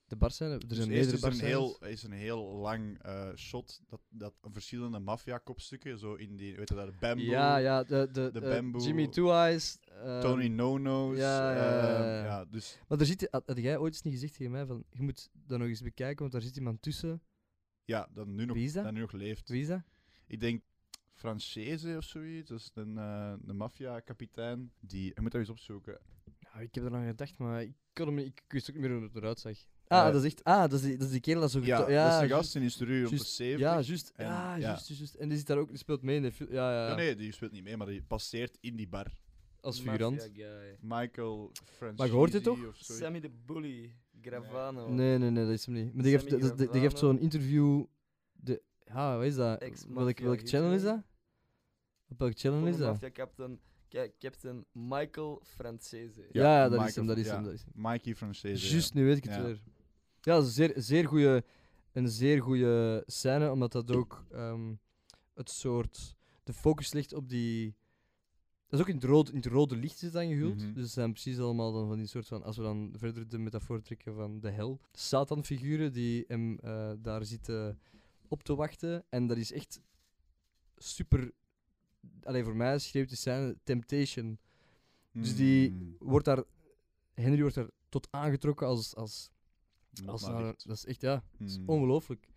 [SPEAKER 2] De bar zijn er. Er
[SPEAKER 1] Dus
[SPEAKER 2] Eh, zijn
[SPEAKER 1] eerst
[SPEAKER 2] meerdere
[SPEAKER 1] is er een
[SPEAKER 2] barscènes.
[SPEAKER 1] heel, is een heel lang eh, shot dat, dat verschillende maffia-kopstukken, zo in die, weet je dat, Bamboo,
[SPEAKER 2] Ja, ja. De, de,
[SPEAKER 1] de
[SPEAKER 2] eh,
[SPEAKER 1] bamboe-
[SPEAKER 2] Jimmy Two Eyes. eh,
[SPEAKER 1] Tony No-No's.
[SPEAKER 2] ja, ja, ja,
[SPEAKER 1] ehm,
[SPEAKER 2] ja.
[SPEAKER 1] ja, dus
[SPEAKER 2] Maar daar zit, had, had jij ooit eens niet gezegd tegen mij van, je moet dat nog eens bekijken, want daar zit iemand tussen.
[SPEAKER 1] ja, dat nu nog,
[SPEAKER 2] Wie is dat?
[SPEAKER 1] dat nu nog leeft.
[SPEAKER 2] Wie is dat?
[SPEAKER 1] Ik denk Francese of zoiets. Dat is een, eh, een maffia-kapitein. Die... Ik moet dat eens opzoeken.
[SPEAKER 2] Nou, ik heb er nog aan gedacht, maar ik, kon hem, niet- ik wist ook niet meer hoe het eruit zag. Ah,
[SPEAKER 1] Eh,
[SPEAKER 2] dat is echt, ah, dat is die, dat is die kerel dat zo
[SPEAKER 1] Ja,
[SPEAKER 2] geto-
[SPEAKER 1] dat is de
[SPEAKER 2] juist.
[SPEAKER 1] gast in die is er rond de
[SPEAKER 2] juist.
[SPEAKER 1] 70.
[SPEAKER 2] Ja, juist.
[SPEAKER 1] En-
[SPEAKER 2] ja,
[SPEAKER 1] ja.
[SPEAKER 2] juist, juist, juist. En die zit daar ook, die speelt mee in de film. Ja, ja,
[SPEAKER 1] Ja, nee, die speelt niet mee, maar die passeert in die bar.
[SPEAKER 2] Als figurant.
[SPEAKER 3] Mafia guy.
[SPEAKER 1] Michael Francese.
[SPEAKER 2] Maar je hoort het toch?
[SPEAKER 1] of zoiets.
[SPEAKER 3] Sammy de Bully. Gravano.
[SPEAKER 2] Nee, nee, nee, dat is hem niet. Maar die geeft,
[SPEAKER 3] Sammy
[SPEAKER 2] dat- die, die geeft
[SPEAKER 3] Gravano.
[SPEAKER 2] zo'n interview. De, ja, wat is dat?
[SPEAKER 3] Ex-mafia
[SPEAKER 2] Welk, welk channel is
[SPEAKER 3] Hitler.
[SPEAKER 2] dat? Op welk channel is
[SPEAKER 3] Volgende
[SPEAKER 2] dat?
[SPEAKER 3] Mafia captain, ca- captain Michael Francese.
[SPEAKER 1] Ja,
[SPEAKER 2] Ja, ja, dat is
[SPEAKER 1] Michael-
[SPEAKER 2] hem, dat is
[SPEAKER 1] ja.
[SPEAKER 2] hem. Dat is hem.
[SPEAKER 1] Mikey Francese.
[SPEAKER 2] Juist, nu weet ik het
[SPEAKER 1] Ja. Mm,
[SPEAKER 2] weer. Ja, zeer, zeer goede, een zeer goede scène, omdat dat ook ehm, het soort. De focus ligt op die. Dat is ook in het rode, in het rode licht is dan gehuld.
[SPEAKER 1] Mhm.
[SPEAKER 2] Dus het zijn precies allemaal dan van die soort van. Als we dan verder de metafoor trekken van de hel. Satan-figuren die hem eh, daar zitten op te wachten. En dat is echt super. Alleen voor mij schreef de scène Temptation
[SPEAKER 1] ja.
[SPEAKER 2] dus die-
[SPEAKER 1] Mm,
[SPEAKER 2] wordt daar, Henry wordt daar tot aangetrokken als. als,
[SPEAKER 1] laat
[SPEAKER 2] als nou-
[SPEAKER 1] maar
[SPEAKER 2] naar-
[SPEAKER 1] dicht.
[SPEAKER 2] dat is echt, ja, dat is
[SPEAKER 1] Mm.
[SPEAKER 2] ongelooflijk.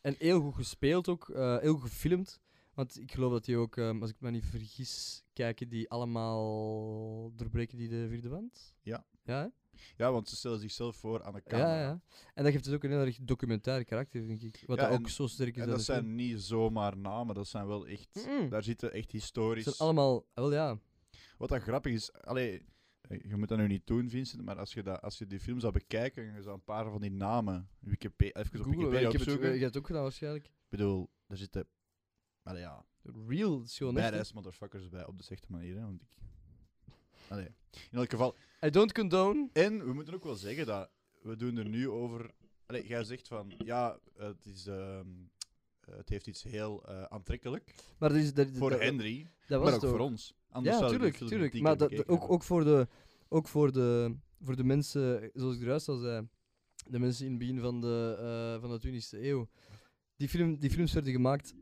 [SPEAKER 2] En heel goed gespeeld ook, eh, heel goed gefilmd. Want ik geloof dat die ook, ehm, als ik me niet vergis, kijken die allemaal. doorbreken die de vierde wand?
[SPEAKER 1] Ja.
[SPEAKER 2] Ja, hè?
[SPEAKER 1] Ja, want ze stellen zichzelf voor aan de camera.
[SPEAKER 2] ja, ja. En dat geeft het ook een heel erg documentaire karakter, denk ik. Wat
[SPEAKER 1] Ja,
[SPEAKER 2] dat ook
[SPEAKER 1] en-
[SPEAKER 2] zo sterk is.
[SPEAKER 1] En
[SPEAKER 2] aan
[SPEAKER 1] dat
[SPEAKER 2] de
[SPEAKER 1] zijn
[SPEAKER 2] film.
[SPEAKER 1] niet zomaar namen, dat zijn wel echt...
[SPEAKER 2] Mm-mm.
[SPEAKER 1] Daar zitten echt
[SPEAKER 2] Het zijn
[SPEAKER 1] historisch...
[SPEAKER 2] allemaal. ah, Wel ja.
[SPEAKER 1] Wat dat grappig is, allee, eh, je moet dat nu niet doen, Vincent, maar als je, dat, als je die film zou bekijken en je zou een paar van die namen Wikipedia, even op
[SPEAKER 2] Googlen,
[SPEAKER 1] Wikipedia
[SPEAKER 2] ik heb het,
[SPEAKER 1] opzoeken.
[SPEAKER 2] eh, jij hebt het ook gedaan waarschijnlijk.
[SPEAKER 1] Ik bedoel, daar zitten allee, ja,
[SPEAKER 2] Real, dat is gewoon echt, hè.
[SPEAKER 1] badass motherfuckers bij op de slechte manier. Hè, want ik... allee. In elk geval.
[SPEAKER 2] I don't condone.
[SPEAKER 1] En we moeten ook wel zeggen dat we doen er nu over. Allee, jij zegt van ja, het, is, ehm, het heeft iets heel eh, aantrekkelijk
[SPEAKER 2] Maar dat is, dat,
[SPEAKER 1] voor
[SPEAKER 2] dat,
[SPEAKER 1] Henry,
[SPEAKER 2] dat was
[SPEAKER 1] maar ook
[SPEAKER 2] het ook.
[SPEAKER 1] voor ons. Anders
[SPEAKER 2] Ja,
[SPEAKER 1] zouden we die
[SPEAKER 2] tuurlijk,
[SPEAKER 1] film
[SPEAKER 2] tuurlijk.
[SPEAKER 1] niet
[SPEAKER 2] Maar
[SPEAKER 1] kunnen
[SPEAKER 2] dat, dat-
[SPEAKER 1] bekeken
[SPEAKER 2] ook, ook, voor de, ook voor, de, voor de mensen, zoals ik eruit al zei, de mensen in het begin van de, eh, van de 20e eeuw. Die, film, die films werden gemaakt.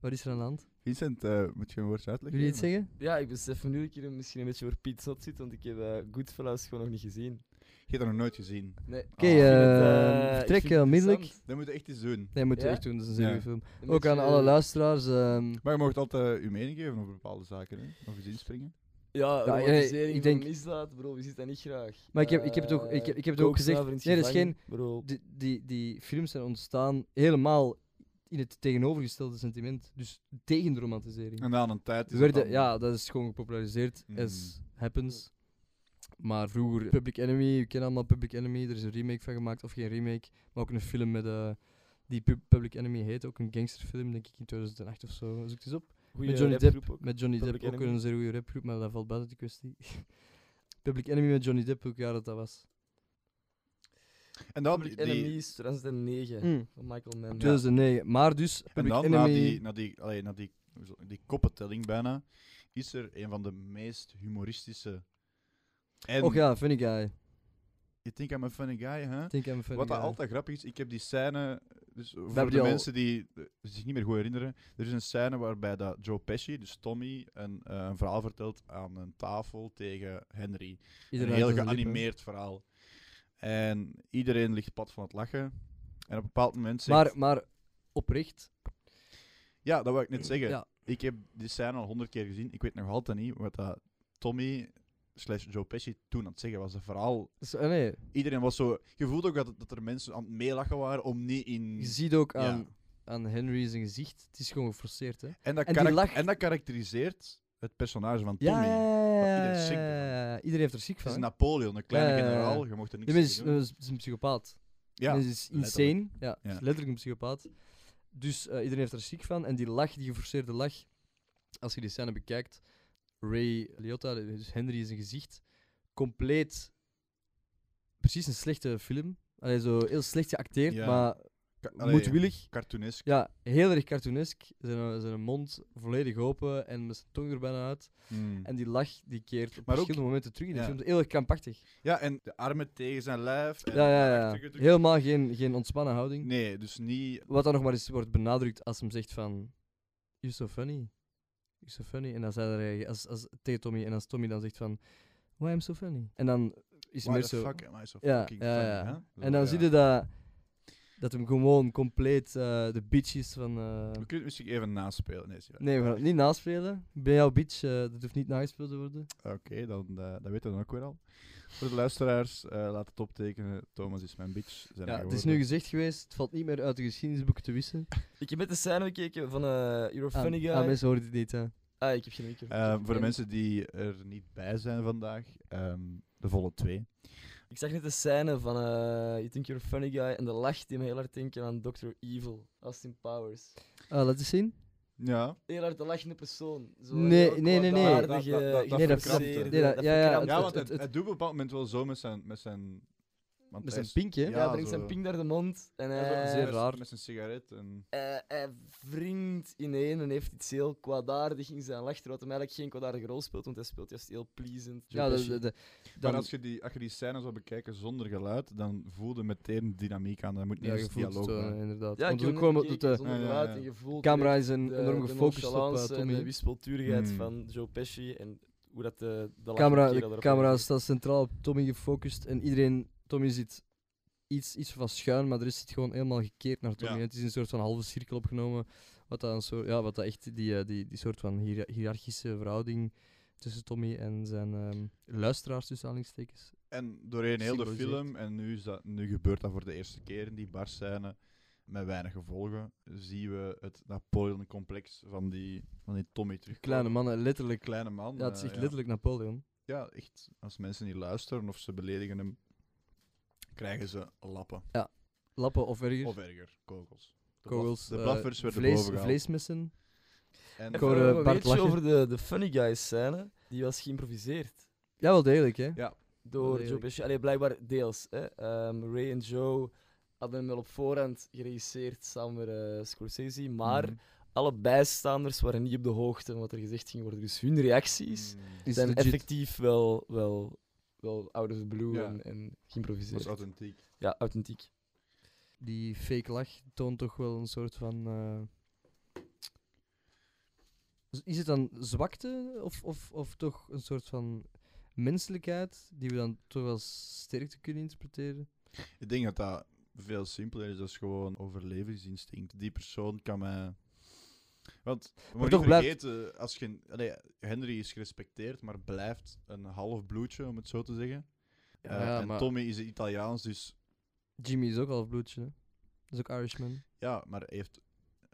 [SPEAKER 2] Wat is er aan de hand?
[SPEAKER 1] hebben. Vincent, eh, moet je een woordje
[SPEAKER 2] Wil
[SPEAKER 1] uitleggen?
[SPEAKER 2] jullie iets zeggen?
[SPEAKER 3] Ja, ik besef nu dat ik hier misschien een beetje voor Piet Zot zit, want ik heb eh, Goodfellas gewoon nog niet gezien.
[SPEAKER 1] Je hebt dat nog nooit gezien.
[SPEAKER 3] Nee.
[SPEAKER 1] Ah. Ik
[SPEAKER 2] Oké,
[SPEAKER 1] vind
[SPEAKER 3] het,
[SPEAKER 2] ehm,
[SPEAKER 3] eh, ik
[SPEAKER 2] vertrek
[SPEAKER 3] vind het
[SPEAKER 2] onmiddellijk.
[SPEAKER 3] interessant.
[SPEAKER 1] Dat moet je echt eens doen.
[SPEAKER 2] Nee, moeten we
[SPEAKER 3] Ja?
[SPEAKER 2] echt doen, dat is een zeer
[SPEAKER 1] Ja.
[SPEAKER 2] film.
[SPEAKER 3] Een
[SPEAKER 2] Ook aan
[SPEAKER 3] beetje- eh,
[SPEAKER 2] alle luisteraars. ehm,
[SPEAKER 1] Maar je mag altijd uw mening geven over bepaalde zaken, hè? of eens inspringen.
[SPEAKER 3] Ja,
[SPEAKER 2] Ja,
[SPEAKER 3] romantisering
[SPEAKER 2] ik
[SPEAKER 3] van
[SPEAKER 2] denk-
[SPEAKER 3] misdaad, bro, wie ziet dat niet graag? Eh,
[SPEAKER 2] Maar ik heb- ik heb het ook- ik heb- ik heb het ook gezegd- nee, dat is geen-
[SPEAKER 3] Bro.
[SPEAKER 2] die, die, die films zijn ontstaan helemaal in het tegenovergestelde sentiment. Dus tegen de romantisering.
[SPEAKER 1] En na een tijd is
[SPEAKER 2] Ze
[SPEAKER 1] het
[SPEAKER 2] werden,
[SPEAKER 1] dan- Mm.
[SPEAKER 2] ja, dat is gewoon gepopulariseerd. As happens. Maar vroeger, Public Enemy, je kent allemaal Public Enemy. Er is een remake van gemaakt, of geen remake. Maar ook een film met, eh, die Pub- Public Enemy heet. Ook een gangsterfilm, denk ik, in 2008 of zo. Zoek het eens op.
[SPEAKER 3] Goeie
[SPEAKER 2] Johnny
[SPEAKER 3] rapgroep ook.
[SPEAKER 2] Met Johnny
[SPEAKER 3] Public
[SPEAKER 2] Depp, ook
[SPEAKER 3] Enemy.
[SPEAKER 2] een zeer goede rapgroep, maar dat valt buiten de kwestie. Public Enemy met Johnny Depp, welk jaar dat dat was?
[SPEAKER 1] En dan,
[SPEAKER 3] Public
[SPEAKER 1] die,
[SPEAKER 3] Enemy is 2009,
[SPEAKER 2] Mm,
[SPEAKER 3] van Michael Mann.
[SPEAKER 2] 2009. Maar dus,
[SPEAKER 1] en
[SPEAKER 2] Public
[SPEAKER 1] dan
[SPEAKER 2] Enemy...
[SPEAKER 1] na die, na die, allee, na die hoe zal- die koppentelling bijna, is er een van de meest humoristische. En
[SPEAKER 2] Och ja, funny guy.
[SPEAKER 1] You Think I'm a Funny Guy, hè?
[SPEAKER 2] Think I'm a funny
[SPEAKER 1] Wat dat
[SPEAKER 2] guy.
[SPEAKER 1] altijd grappig is, ik heb die scène. Dus
[SPEAKER 2] hebben
[SPEAKER 1] voor
[SPEAKER 2] die
[SPEAKER 1] de
[SPEAKER 2] al-
[SPEAKER 1] mensen die eh, zich niet meer goed herinneren, er is een scène waarbij dat Joe Pesci, dus Tommy, een, eh, een verhaal vertelt aan een tafel tegen Henry.
[SPEAKER 2] Iedereen
[SPEAKER 1] een
[SPEAKER 2] uit
[SPEAKER 1] heel
[SPEAKER 2] zijn lippen.
[SPEAKER 1] geanimeerd verhaal. En iedereen ligt pad van het lachen. En op een bepaald moment zegt...
[SPEAKER 2] Maar, maar oprecht.
[SPEAKER 1] Ja, dat wil ik net zeggen.
[SPEAKER 2] Ja.
[SPEAKER 1] Ik heb die scène al honderd keer gezien. Ik weet nog altijd niet wat dat Tommy slash Joe Pesci toen aan het zeggen was. Het verhaal...
[SPEAKER 2] Dus, eh, nee,
[SPEAKER 1] Iedereen was zo... Je voelt ook dat, dat er mensen aan het meelachen waren om niet in...
[SPEAKER 2] je ziet ook
[SPEAKER 1] Ja.
[SPEAKER 2] aan, aan Henry zijn gezicht. Het is gewoon geforceerd, hè?
[SPEAKER 1] En dat,
[SPEAKER 2] En die
[SPEAKER 1] karak-
[SPEAKER 2] lacht.
[SPEAKER 1] en dat karakteriseert het personage van Tommy.
[SPEAKER 2] Ja, ja, ja,
[SPEAKER 1] iedereen is
[SPEAKER 2] ja,
[SPEAKER 1] ziek
[SPEAKER 2] ja, ja. Iedereen heeft er ziek
[SPEAKER 1] Het is
[SPEAKER 2] van. hè.
[SPEAKER 1] Napoleon, een kleine
[SPEAKER 2] Ja, ja, ja.
[SPEAKER 1] generaal. Je mocht er niks
[SPEAKER 2] Die mens is, eh,
[SPEAKER 1] mee doen.
[SPEAKER 2] is- is een psychopaat.
[SPEAKER 1] Ja,
[SPEAKER 2] Die mens is dus insane. Ja, is
[SPEAKER 1] Ja.
[SPEAKER 2] letterlijk een psychopaat. Dus eh, iedereen heeft er ziek van. En die lach, die geforceerde lach, als je die scène bekijkt, Ray Liotta, dus Henry in zijn gezicht, compleet precies een slechte film. Allee, zo heel slecht geacteerd,
[SPEAKER 1] Ja.
[SPEAKER 2] maar
[SPEAKER 1] Ka- allee,
[SPEAKER 2] moedwillig.
[SPEAKER 1] Cartoonesk.
[SPEAKER 2] Ja, heel erg cartoonesk. Zijn, eh, zijn mond volledig open en met zijn tong er bijna uit.
[SPEAKER 1] Hmm.
[SPEAKER 2] En die lach die keert op
[SPEAKER 1] Maar ook-
[SPEAKER 2] verschillende momenten terug in de
[SPEAKER 1] ja.
[SPEAKER 2] film. Heel erg krampachtig.
[SPEAKER 1] Ja, en de armen tegen zijn lijf. En
[SPEAKER 2] Ja, ja, ja.
[SPEAKER 1] achter-
[SPEAKER 2] Helemaal geen, geen ontspannen houding.
[SPEAKER 1] Nee, dus niet.
[SPEAKER 2] Wat dan nog maar eens wordt benadrukt als hem zegt van... You're so funny. You're so funny. En dan zei hij als, als, tegen Tommy. En als Tommy dan zegt van... Why I'm so funny. En dan is
[SPEAKER 1] Why
[SPEAKER 2] hij meer
[SPEAKER 1] the
[SPEAKER 2] zo...
[SPEAKER 1] fuck am I so
[SPEAKER 2] Ja,
[SPEAKER 1] fucking
[SPEAKER 2] ja,
[SPEAKER 1] funny,
[SPEAKER 2] ja.
[SPEAKER 1] hè? Zo,
[SPEAKER 2] En dan
[SPEAKER 1] ja.
[SPEAKER 2] zie je dat... Dat hem gewoon compleet eh, de bitch is van... eh,
[SPEAKER 1] We kunnen het misschien even naspelen. Nee, zie je.
[SPEAKER 2] Nee, we gaan het niet naspelen. Ben jouw bitch, eh, dat hoeft niet nagespeeld te worden.
[SPEAKER 1] Oké, dan, eh, dat weten we dan ook weer al. Voor de luisteraars, eh, laat het optekenen. Thomas is mijn bitch. Zijn
[SPEAKER 2] Ja,
[SPEAKER 1] wij
[SPEAKER 2] het is nu
[SPEAKER 1] geworden.
[SPEAKER 2] gezegd geweest, het valt niet meer uit de geschiedenisboeken te wissen.
[SPEAKER 3] Ik heb net de scène gekeken van eh You're a
[SPEAKER 2] Aan-
[SPEAKER 3] Funny
[SPEAKER 2] aan
[SPEAKER 3] Guy.
[SPEAKER 2] mensen hoort het niet, hè.
[SPEAKER 3] Ah, ik heb geen microfoon.
[SPEAKER 1] Eh, voor de
[SPEAKER 3] En
[SPEAKER 1] mensen die er niet bij zijn vandaag, ehm, de volle twee.
[SPEAKER 3] Ik zag net de scène van eh You Think You're a Funny Guy en de lach die me heel hard denken aan Dr. Evil, Austin Powers.
[SPEAKER 2] Ah, laat eens zien.
[SPEAKER 1] Ja,
[SPEAKER 3] Heel hard de lachende persoon. Zo
[SPEAKER 2] Nee, nee, nee, nee.
[SPEAKER 1] Dat- dat- dat- dat
[SPEAKER 3] nee,
[SPEAKER 1] verkrampte.
[SPEAKER 3] dat verkrampte.
[SPEAKER 2] Nee, dat- ja, ja,
[SPEAKER 3] verkrampte.
[SPEAKER 2] het-
[SPEAKER 1] ja want
[SPEAKER 2] het-
[SPEAKER 1] het, het doet op een bepaald moment wel zo met zijn. Met zijn, want
[SPEAKER 2] Met
[SPEAKER 1] hij
[SPEAKER 2] zijn
[SPEAKER 1] is-
[SPEAKER 2] pinkje.
[SPEAKER 3] Ja, brengt
[SPEAKER 1] zo.
[SPEAKER 3] zijn pink naar de mond en
[SPEAKER 1] Ja, zo
[SPEAKER 3] hij,
[SPEAKER 2] Zeer
[SPEAKER 1] met-
[SPEAKER 2] raar.
[SPEAKER 1] Met zijn sigaret. En...
[SPEAKER 3] eh, hij wringt ineen en heeft iets heel kwaadaardig in zijn lach, terwijl hij eigenlijk geen kwaadaardige rol speelt, want hij speelt juist heel pleasant.
[SPEAKER 2] Ja, de, de, de- dan,
[SPEAKER 1] maar als je, die, als je die scène zou bekijken zonder geluid, dan voelde meteen dynamiek aan. Dan moet niet
[SPEAKER 2] ja,
[SPEAKER 1] eens
[SPEAKER 2] je voelt het
[SPEAKER 1] dialoog
[SPEAKER 2] wel,
[SPEAKER 1] bij.
[SPEAKER 2] inderdaad.
[SPEAKER 3] ja,
[SPEAKER 2] Want
[SPEAKER 3] ik
[SPEAKER 2] het
[SPEAKER 3] heb
[SPEAKER 2] is ook gewoon
[SPEAKER 3] hem
[SPEAKER 2] omdat
[SPEAKER 3] gekeken
[SPEAKER 1] Ja,
[SPEAKER 2] de
[SPEAKER 3] zonder
[SPEAKER 1] ja,
[SPEAKER 3] geluid
[SPEAKER 1] ja.
[SPEAKER 3] en je voelt
[SPEAKER 2] camera
[SPEAKER 3] direct
[SPEAKER 2] is een,
[SPEAKER 3] de-
[SPEAKER 2] enorm
[SPEAKER 3] de
[SPEAKER 2] gefocust op eh,
[SPEAKER 3] nonchalance en de
[SPEAKER 2] Tommy.
[SPEAKER 3] wispelturigheid
[SPEAKER 1] Hmm.
[SPEAKER 3] van Joe Pesci en hoe dat eh, de, de
[SPEAKER 2] Camera,
[SPEAKER 3] lachende kerel
[SPEAKER 2] de
[SPEAKER 3] erop
[SPEAKER 2] camera
[SPEAKER 3] reageert.
[SPEAKER 2] staat centraal op Tommy gefocust en iedereen... Tommy zit iets, iets van schuin, maar de rest zit gewoon helemaal gekeerd naar Tommy.
[SPEAKER 1] Ja.
[SPEAKER 2] Het is een soort van halve cirkel opgenomen, wat dan zo, ja, wat dat echt die, eh, die, die soort van hiër- hiërarchische verhouding tussen Tommy en zijn ehm, luisteraars, tussen aanhalingstekens,
[SPEAKER 1] En doorheen heel de
[SPEAKER 2] Symboliseert.
[SPEAKER 1] film, en nu, is dat, nu gebeurt dat voor de eerste keer in die barscène, met weinig gevolgen, zien we het Napoleon-complex van die, van die Tommy terug.
[SPEAKER 2] Kleine mannen, letterlijk.
[SPEAKER 1] Kleine man.
[SPEAKER 2] Ja, het is
[SPEAKER 1] eh,
[SPEAKER 2] echt letterlijk Napoleon.
[SPEAKER 1] Ja, echt. Als mensen niet luisteren of ze beledigen hem, krijgen ze lappen.
[SPEAKER 2] Lappen of erger.
[SPEAKER 1] Of erger, kogels. De blaf-
[SPEAKER 2] kogels.
[SPEAKER 1] De
[SPEAKER 2] eh,
[SPEAKER 1] blaffers werden
[SPEAKER 2] vlees,
[SPEAKER 1] boven gehaald.
[SPEAKER 2] Vleesmessen.
[SPEAKER 1] En
[SPEAKER 3] Ik
[SPEAKER 2] hoor, eh,
[SPEAKER 3] hoorde
[SPEAKER 2] Bart
[SPEAKER 3] Bart
[SPEAKER 2] lachen.
[SPEAKER 3] over de, de Funny Guys scène. Die was geïmproviseerd
[SPEAKER 2] Ja, wel degelijk, hè?
[SPEAKER 1] Ja.
[SPEAKER 3] door Joe
[SPEAKER 2] Redelijk.
[SPEAKER 3] Pesci. Allee, blijkbaar deels. Hè. Ehm, Ray en Joe hadden hem wel op voorhand geregisseerd samen met eh, Scorsese. Maar
[SPEAKER 2] Hmm.
[SPEAKER 1] Mhm.
[SPEAKER 3] alle bijstaanders waren niet op de hoogte van wat er gezegd ging worden. Dus hun reacties
[SPEAKER 1] Mm.
[SPEAKER 2] Is
[SPEAKER 3] zijn
[SPEAKER 2] legit.
[SPEAKER 3] effectief wel, wel, wel out of the blue
[SPEAKER 1] Ja.
[SPEAKER 3] en, en
[SPEAKER 1] Dat
[SPEAKER 3] geïmproviseerd.
[SPEAKER 1] is authentiek.
[SPEAKER 3] ja, authentiek.
[SPEAKER 2] Die fake lach toont toch wel een soort van. eh, z- Is het dan zwakte of, of, of toch een soort van menselijkheid die we dan toch als sterkte kunnen interpreteren?
[SPEAKER 1] Ik denk dat dat veel simpeler is. Dat is gewoon overlevingsinstinct. Die persoon kan mij... Want we moeten
[SPEAKER 2] toch
[SPEAKER 1] niet
[SPEAKER 2] blijft-
[SPEAKER 1] vergeten, als je, allee, Henry is gerespecteerd, maar blijft een half bloedje, om het zo te zeggen. Eh, en Tommy is Italiaans, dus
[SPEAKER 2] Jimmy is ook al bloedje. Hè? Dat is ook Irishman.
[SPEAKER 1] ja, maar heeft...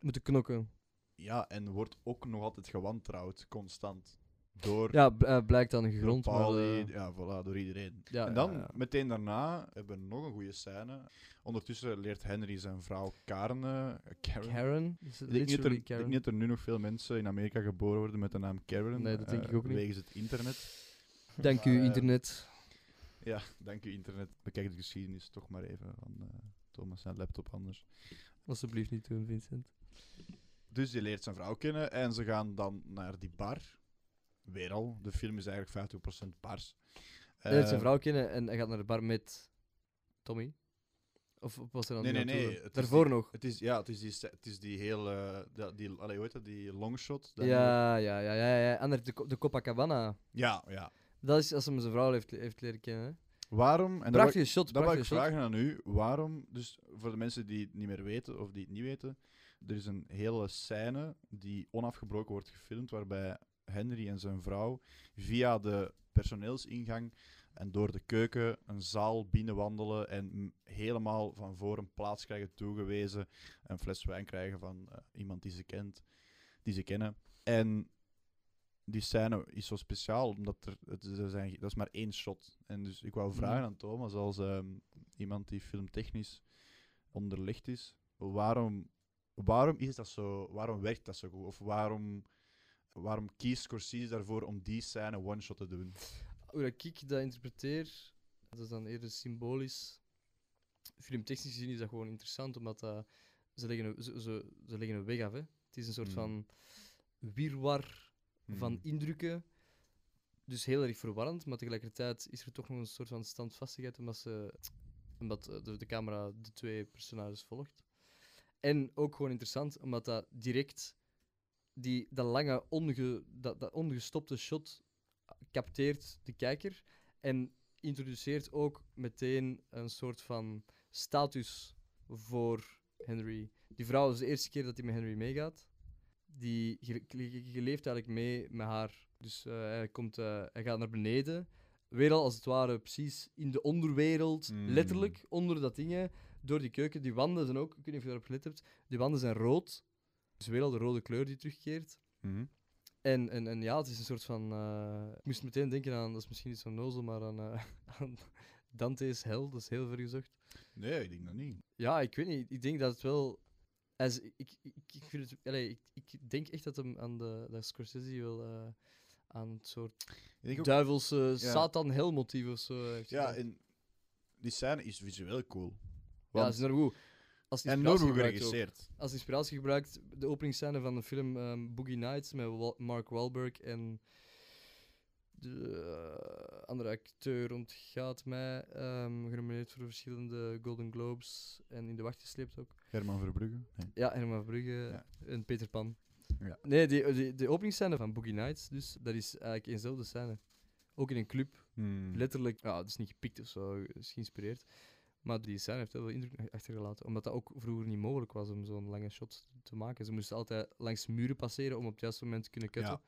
[SPEAKER 2] Moeten knokken.
[SPEAKER 1] Ja, en wordt ook nog altijd gewantrouwd, constant. Door,
[SPEAKER 2] Ja, bl- eh, blijkt dan
[SPEAKER 1] door
[SPEAKER 2] gegrond. maar,
[SPEAKER 1] Pauli,
[SPEAKER 2] eh,
[SPEAKER 1] ja, voilà, door iedereen.
[SPEAKER 2] ja,
[SPEAKER 1] en dan,
[SPEAKER 2] ja, ja.
[SPEAKER 1] meteen daarna, hebben we nog een goede scène. Ondertussen leert Henry zijn vrouw Karen... eh, Karen
[SPEAKER 2] Karen. Is
[SPEAKER 1] Ik denk, niet dat er,
[SPEAKER 2] literally
[SPEAKER 1] ik denk niet dat er nu nog veel mensen in Amerika geboren worden met de naam Karen.
[SPEAKER 2] Nee, dat denk
[SPEAKER 1] eh,
[SPEAKER 2] ik ook niet.
[SPEAKER 1] Wegens het internet.
[SPEAKER 2] Dank u,
[SPEAKER 1] Maar, eh,
[SPEAKER 2] internet.
[SPEAKER 1] Ja, dank u internet. Bekijk de geschiedenis toch maar even van eh, Thomas zijn laptop anders.
[SPEAKER 2] Alsjeblieft niet doen, Vincent.
[SPEAKER 1] Dus die leert zijn vrouw kennen en ze gaan dan naar die bar. Weer al, de film is eigenlijk 50% bars.
[SPEAKER 2] Hij leert zijn
[SPEAKER 1] Eh,
[SPEAKER 2] vrouw kennen en hij gaat naar de bar met Tommy. Of of was er dan
[SPEAKER 1] Nee, nee,
[SPEAKER 2] naartoe?
[SPEAKER 1] nee, het is
[SPEAKER 2] Daarvoor
[SPEAKER 1] die-
[SPEAKER 2] nog.
[SPEAKER 1] Het is, ja, het is die, se- het is die hele, die, die, allee, hoe heet dat, die longshot. dat-
[SPEAKER 2] Ja, ja, ja, ja, ja. En er- de, Co- de Copacabana.
[SPEAKER 1] ja, ja.
[SPEAKER 2] Dat is als ze hem zijn vrouw heeft, heeft leren kennen. Hè.
[SPEAKER 1] Waarom, en dat wil ik-
[SPEAKER 2] Prachtige shot,
[SPEAKER 1] dat wil
[SPEAKER 2] prachtige
[SPEAKER 1] ik
[SPEAKER 2] shot.
[SPEAKER 1] vragen aan u, waarom, dus voor de mensen die het niet meer weten of die het niet weten, er is een hele scène die onafgebroken wordt gefilmd, waarbij Henry en zijn vrouw via de personeelsingang en door de keuken een zaal binnenwandelen en m- helemaal van voor een plaats krijgen toegewezen, een fles wijn krijgen van eh, iemand die ze kent, die ze kennen. En die scène is zo speciaal, omdat er, het, is- er zijn, dat is maar één shot. En dus ik wou vragen
[SPEAKER 2] Mhm.
[SPEAKER 1] aan Thomas, als ehm, iemand die filmtechnisch onderlegd is, waarom, waarom is dat zo, waarom werkt dat zo goed? Of waarom, waarom kiest Scorsese daarvoor om die scène one-shot te doen?
[SPEAKER 2] Hoe dat ik dat interpreteer, dat is dan eerder symbolisch. Filmtechnisch gezien is dat gewoon interessant, omdat dat, ze, leggen, een- ze, ze, ze leggen een weg af. Hè. Het is een soort
[SPEAKER 1] Mm.
[SPEAKER 2] van wirwar van
[SPEAKER 1] Hmm.
[SPEAKER 2] indrukken. Dus heel erg verwarrend, maar tegelijkertijd is er toch nog een soort van standvastigheid omdat, ze, omdat eh, de, de camera de twee personages volgt. En ook gewoon interessant, omdat dat direct die, dat lange, onge, dat, dat ongestopte shot capteert de kijker en introduceert ook meteen een soort van status voor Henry. Die vrouw is de eerste keer dat hij met Henry meegaat die je, je- je- je leeft eigenlijk mee met haar. Dus eh, hij, komt, eh, hij gaat naar beneden. Weer al als het ware precies in de onderwereld,
[SPEAKER 1] Mm.
[SPEAKER 2] letterlijk onder dat ding, hè, door die keuken. Die wanden zijn ook, ik weet niet of je daarop gelet hebt, die wanden zijn rood. Dus weer al de rode kleur die terugkeert.
[SPEAKER 1] Mhm.
[SPEAKER 2] En, en, en ja, het is een soort van. eh, ik moest meteen denken aan, dat is misschien niet zo'n nozel, maar aan, eh, aan Dante's Hel, dat is heel ver gezocht.
[SPEAKER 1] Nee, ik denk dat niet.
[SPEAKER 2] Ja, ik weet niet. Ik denk dat het wel. Als, ik, ik, ik, vind het, allee, ik, ik denk echt dat hem aan de dat Scorsese wel eh, aan het soort
[SPEAKER 1] Ik denk ook-
[SPEAKER 2] duivelse Satan-hel-motief of zo heeft.
[SPEAKER 1] ja,
[SPEAKER 2] gedaan.
[SPEAKER 1] en die scène is visueel cool.
[SPEAKER 2] ja, dat
[SPEAKER 1] Want,
[SPEAKER 2] is nog goed. Als
[SPEAKER 1] en
[SPEAKER 2] inspiratie
[SPEAKER 1] enorm goed
[SPEAKER 2] gebruikt ook.
[SPEAKER 1] geregisseerd.
[SPEAKER 2] Als inspiratie gebruikt de openingsscène van de film ehm, Boogie Nights met Wa- Mark Wahlberg en de eh, andere acteur ontgaat mij, ehm, genomineerd voor verschillende Golden Globes en in de wacht gesleept ook.
[SPEAKER 1] Herman Verbrugge. Nee.
[SPEAKER 2] Ja, Herman Brugge
[SPEAKER 1] Ja.
[SPEAKER 2] en Peter Pan.
[SPEAKER 1] Ja.
[SPEAKER 2] Nee, die, die, de openingsscène van Boogie Nights, dus, dat is eigenlijk eenzelfde scène. Ook in een club,
[SPEAKER 1] Hmm.
[SPEAKER 2] letterlijk. Ja, het is niet gepikt of zo, het is geïnspireerd. Maar die scène heeft heel veel indruk achtergelaten. Omdat dat ook vroeger niet mogelijk was om zo'n lange shot te maken. Ze moesten altijd langs muren passeren om op het juiste moment te kunnen cutten.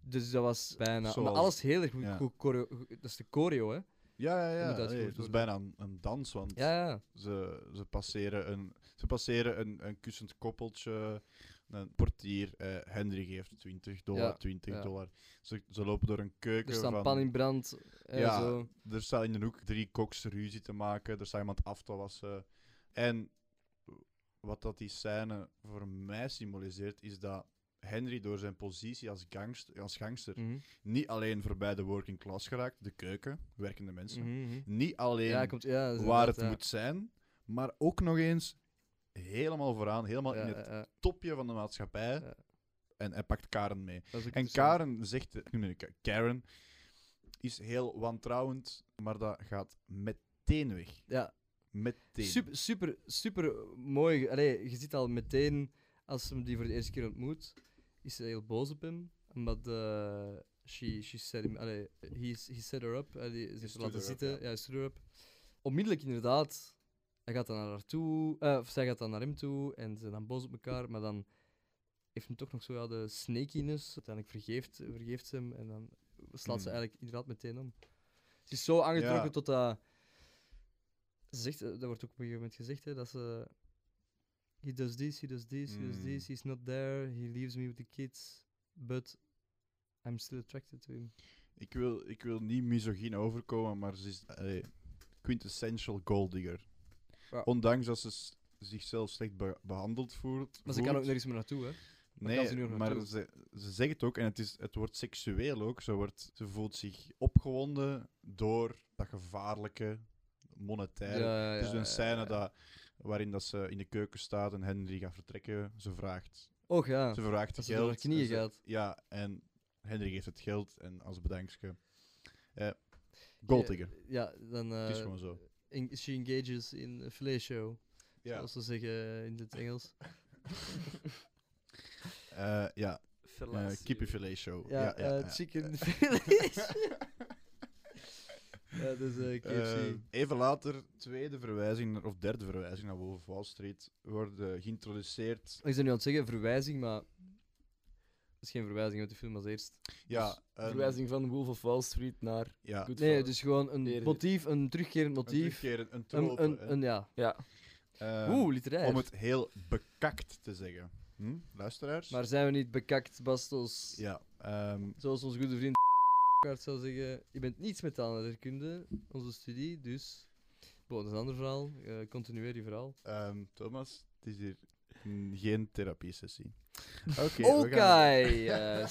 [SPEAKER 2] Dus dat was bijna...
[SPEAKER 1] Zoals-
[SPEAKER 2] Maar alles heel erg goed,
[SPEAKER 1] ja.
[SPEAKER 2] goed choreo... goed- Dat is de choreo, hè?
[SPEAKER 1] Ja, ja,
[SPEAKER 2] Dat
[SPEAKER 1] ja.
[SPEAKER 2] moet uitgevoerd
[SPEAKER 1] nee, het is
[SPEAKER 2] worden.
[SPEAKER 1] bijna een, een dans, want
[SPEAKER 2] Ja, ja.
[SPEAKER 1] ze, ze passeren, een, ze passeren een, een kussend koppeltje, een portier. eh, Henry geeft 20 dollar,
[SPEAKER 2] Ja,
[SPEAKER 1] 20
[SPEAKER 2] ja.
[SPEAKER 1] dollar. Ze, ze lopen door een keuken.
[SPEAKER 2] Er staan
[SPEAKER 1] van,
[SPEAKER 2] Dus pan in brand. En
[SPEAKER 1] Ja,
[SPEAKER 2] zo.
[SPEAKER 1] Er staan in de hoek drie koks ruzie te maken. Er staat iemand af te wassen. En wat dat die scène voor mij symboliseert, is dat Henry door zijn positie als gangster, als gangster
[SPEAKER 2] Mhm,
[SPEAKER 1] niet alleen voorbij de working class geraakt, de keuken, werkende mensen.
[SPEAKER 2] mhm, mhm.
[SPEAKER 1] Niet alleen
[SPEAKER 2] Ja, komt, ja, dat is
[SPEAKER 1] waar
[SPEAKER 2] inderdaad,
[SPEAKER 1] het
[SPEAKER 2] ja.
[SPEAKER 1] moet zijn, maar ook nog eens helemaal vooraan, helemaal
[SPEAKER 2] Ja,
[SPEAKER 1] in het
[SPEAKER 2] ja, ja.
[SPEAKER 1] topje van de maatschappij.
[SPEAKER 2] Ja.
[SPEAKER 1] En hij pakt Karen mee.
[SPEAKER 2] Dat is ook
[SPEAKER 1] En
[SPEAKER 2] interessant.
[SPEAKER 1] Karen zegt, ik noem het Ka- Karen is heel wantrouwend, maar dat gaat meteen weg.
[SPEAKER 2] Ja,
[SPEAKER 1] Meteen.
[SPEAKER 2] super, super, super mooi. Allee, je ziet al meteen, als ze hem die voor de eerste keer ontmoet, is ze heel boos op hem. Omdat eh, she, she set him, allee, he, he set her up. eh, die- ze heeft
[SPEAKER 1] stood
[SPEAKER 2] hem laten
[SPEAKER 1] her up,
[SPEAKER 2] zitten.
[SPEAKER 1] ja.
[SPEAKER 2] ja, hij stood her up. Onmiddellijk inderdaad. Hij gaat dan naar haar toe, eh, of zij gaat dan naar hem toe en ze zijn dan boos op elkaar. Maar dan heeft hem toch nog zo ja, de snakiness. Uiteindelijk vergeeft, vergeeft ze hem en dan slaat ze
[SPEAKER 1] Hmm.
[SPEAKER 2] eigenlijk inderdaad meteen om. Ze is zo aangetrokken
[SPEAKER 1] Ja.
[SPEAKER 2] tot dat. Ze zegt, eh, dat wordt ook op een gegeven moment gezegd, hè, dat ze. He does this, he does this, he does
[SPEAKER 1] Mm.
[SPEAKER 2] this, he's not there, he leaves me with the kids, but I'm still attracted to him.
[SPEAKER 1] Ik, wil, ik wil niet misogyn overkomen, maar ze is allee, quintessential golddigger.
[SPEAKER 2] Ja.
[SPEAKER 1] Ondanks dat ze s- zichzelf slecht be- behandeld voelt.
[SPEAKER 2] Maar ze kan ook
[SPEAKER 1] voelt,
[SPEAKER 2] nergens meer naartoe, hè? Waar kan
[SPEAKER 1] Nee,
[SPEAKER 2] ze nu nog
[SPEAKER 1] maar
[SPEAKER 2] naartoe?
[SPEAKER 1] ze, ze zegt het ook en het, is, het wordt seksueel ook. Ze, wordt, ze voelt zich opgewonden door dat gevaarlijke monetaire.
[SPEAKER 2] ja,
[SPEAKER 1] Het is
[SPEAKER 2] ja,
[SPEAKER 1] een
[SPEAKER 2] ja,
[SPEAKER 1] scène
[SPEAKER 2] ja.
[SPEAKER 1] dat, waarin dat ze in de keuken staat en Henry gaat vertrekken. Ze vraagt
[SPEAKER 2] Och ja.
[SPEAKER 1] Ze vraagt
[SPEAKER 2] Als ze
[SPEAKER 1] geld.
[SPEAKER 2] door haar knieën
[SPEAKER 1] en ze-
[SPEAKER 2] gaat.
[SPEAKER 1] Ja, en Henry geeft het geld en als bedankje. Eh, gold digger.
[SPEAKER 2] Ja, dan... eh,
[SPEAKER 1] het is gewoon zo.
[SPEAKER 2] en- she engages in a fillet show,
[SPEAKER 1] Ja.
[SPEAKER 2] zoals ze zeggen in het Engels.
[SPEAKER 1] Eh ja, eh
[SPEAKER 3] Fellatio.
[SPEAKER 1] kippenfilet show.
[SPEAKER 2] Ja,
[SPEAKER 1] Ja, ja,
[SPEAKER 2] eh,
[SPEAKER 1] ja.
[SPEAKER 2] chicken fillet show. Ja, dus eh KFC.
[SPEAKER 1] Eh, even later, tweede verwijzing naar- of derde verwijzing naar Wolf of Wall Street, worden geïntroduceerd.
[SPEAKER 2] Ik ben nu aan het zeggen verwijzing, maar... Het is geen verwijzing, want die film als eerst. Dus
[SPEAKER 1] Ja, een-
[SPEAKER 3] Verwijzing van Wolf of Wall Street naar
[SPEAKER 1] ja, een
[SPEAKER 3] Goodfellas.
[SPEAKER 2] Nee, dus gewoon een
[SPEAKER 3] Eerder.
[SPEAKER 2] motief, een terugkerend motief.
[SPEAKER 1] terugkerend- een
[SPEAKER 2] Een,
[SPEAKER 1] trope,
[SPEAKER 2] een,
[SPEAKER 1] hè.
[SPEAKER 2] een, ja.
[SPEAKER 3] Ja,
[SPEAKER 1] Ehm,
[SPEAKER 2] Oeh, literair.
[SPEAKER 1] om het heel bekakt te zeggen. Hm? Luisteraars?
[SPEAKER 2] Maar zijn we niet bekakt, Bastos?
[SPEAKER 1] Ja, ehm,
[SPEAKER 2] Zoals onze goede vriend Kaart zou zeggen, je bent niets met taalkunde, onze studie, dus... Bon, dat is een ander verhaal. Eh, continueer je verhaal.
[SPEAKER 1] ehm, Thomas, het is hier mm, geen therapie-sessie. Oké. we
[SPEAKER 2] Oké,
[SPEAKER 1] gaan-
[SPEAKER 2] eh,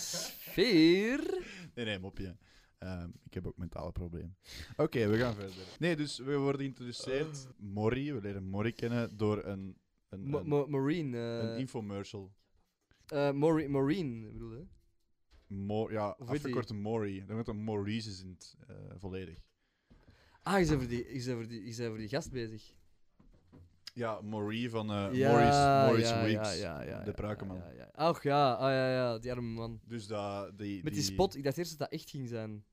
[SPEAKER 2] sfeer.
[SPEAKER 1] Nee, nee, mopje. Ehm, ik heb ook mentale problemen. Oké, we gaan verder. Nee, dus we worden geïntroduceerd. Morrie, we leren Morrie kennen door een, een,
[SPEAKER 2] Eh. Mo-
[SPEAKER 1] een,
[SPEAKER 2] mo- Maureen.
[SPEAKER 1] een
[SPEAKER 2] eh
[SPEAKER 1] infomercial.
[SPEAKER 2] eh, Maureen, Maureen, ik bedoel hè?
[SPEAKER 1] Mo ja,
[SPEAKER 2] Of weet
[SPEAKER 1] afgekort Morrie. Dan wordt een Maurice is in het eh, volledig.
[SPEAKER 2] Ah, ik ben voor die, ik ben voor die, ik ben voor die gast bezig.
[SPEAKER 1] Ja, Morrie van eh
[SPEAKER 2] Ja,
[SPEAKER 1] Maurice, Maurice
[SPEAKER 2] ja,
[SPEAKER 1] Weeks.
[SPEAKER 2] ja, ja, ja,
[SPEAKER 1] de
[SPEAKER 2] ja,
[SPEAKER 1] Brakeman.
[SPEAKER 2] Ja, ja. Ach ja, ah, ja, ja, die arme man.
[SPEAKER 1] Dus dat, die,
[SPEAKER 2] Met die spot, ik dacht eerst dat dat echt ging zijn.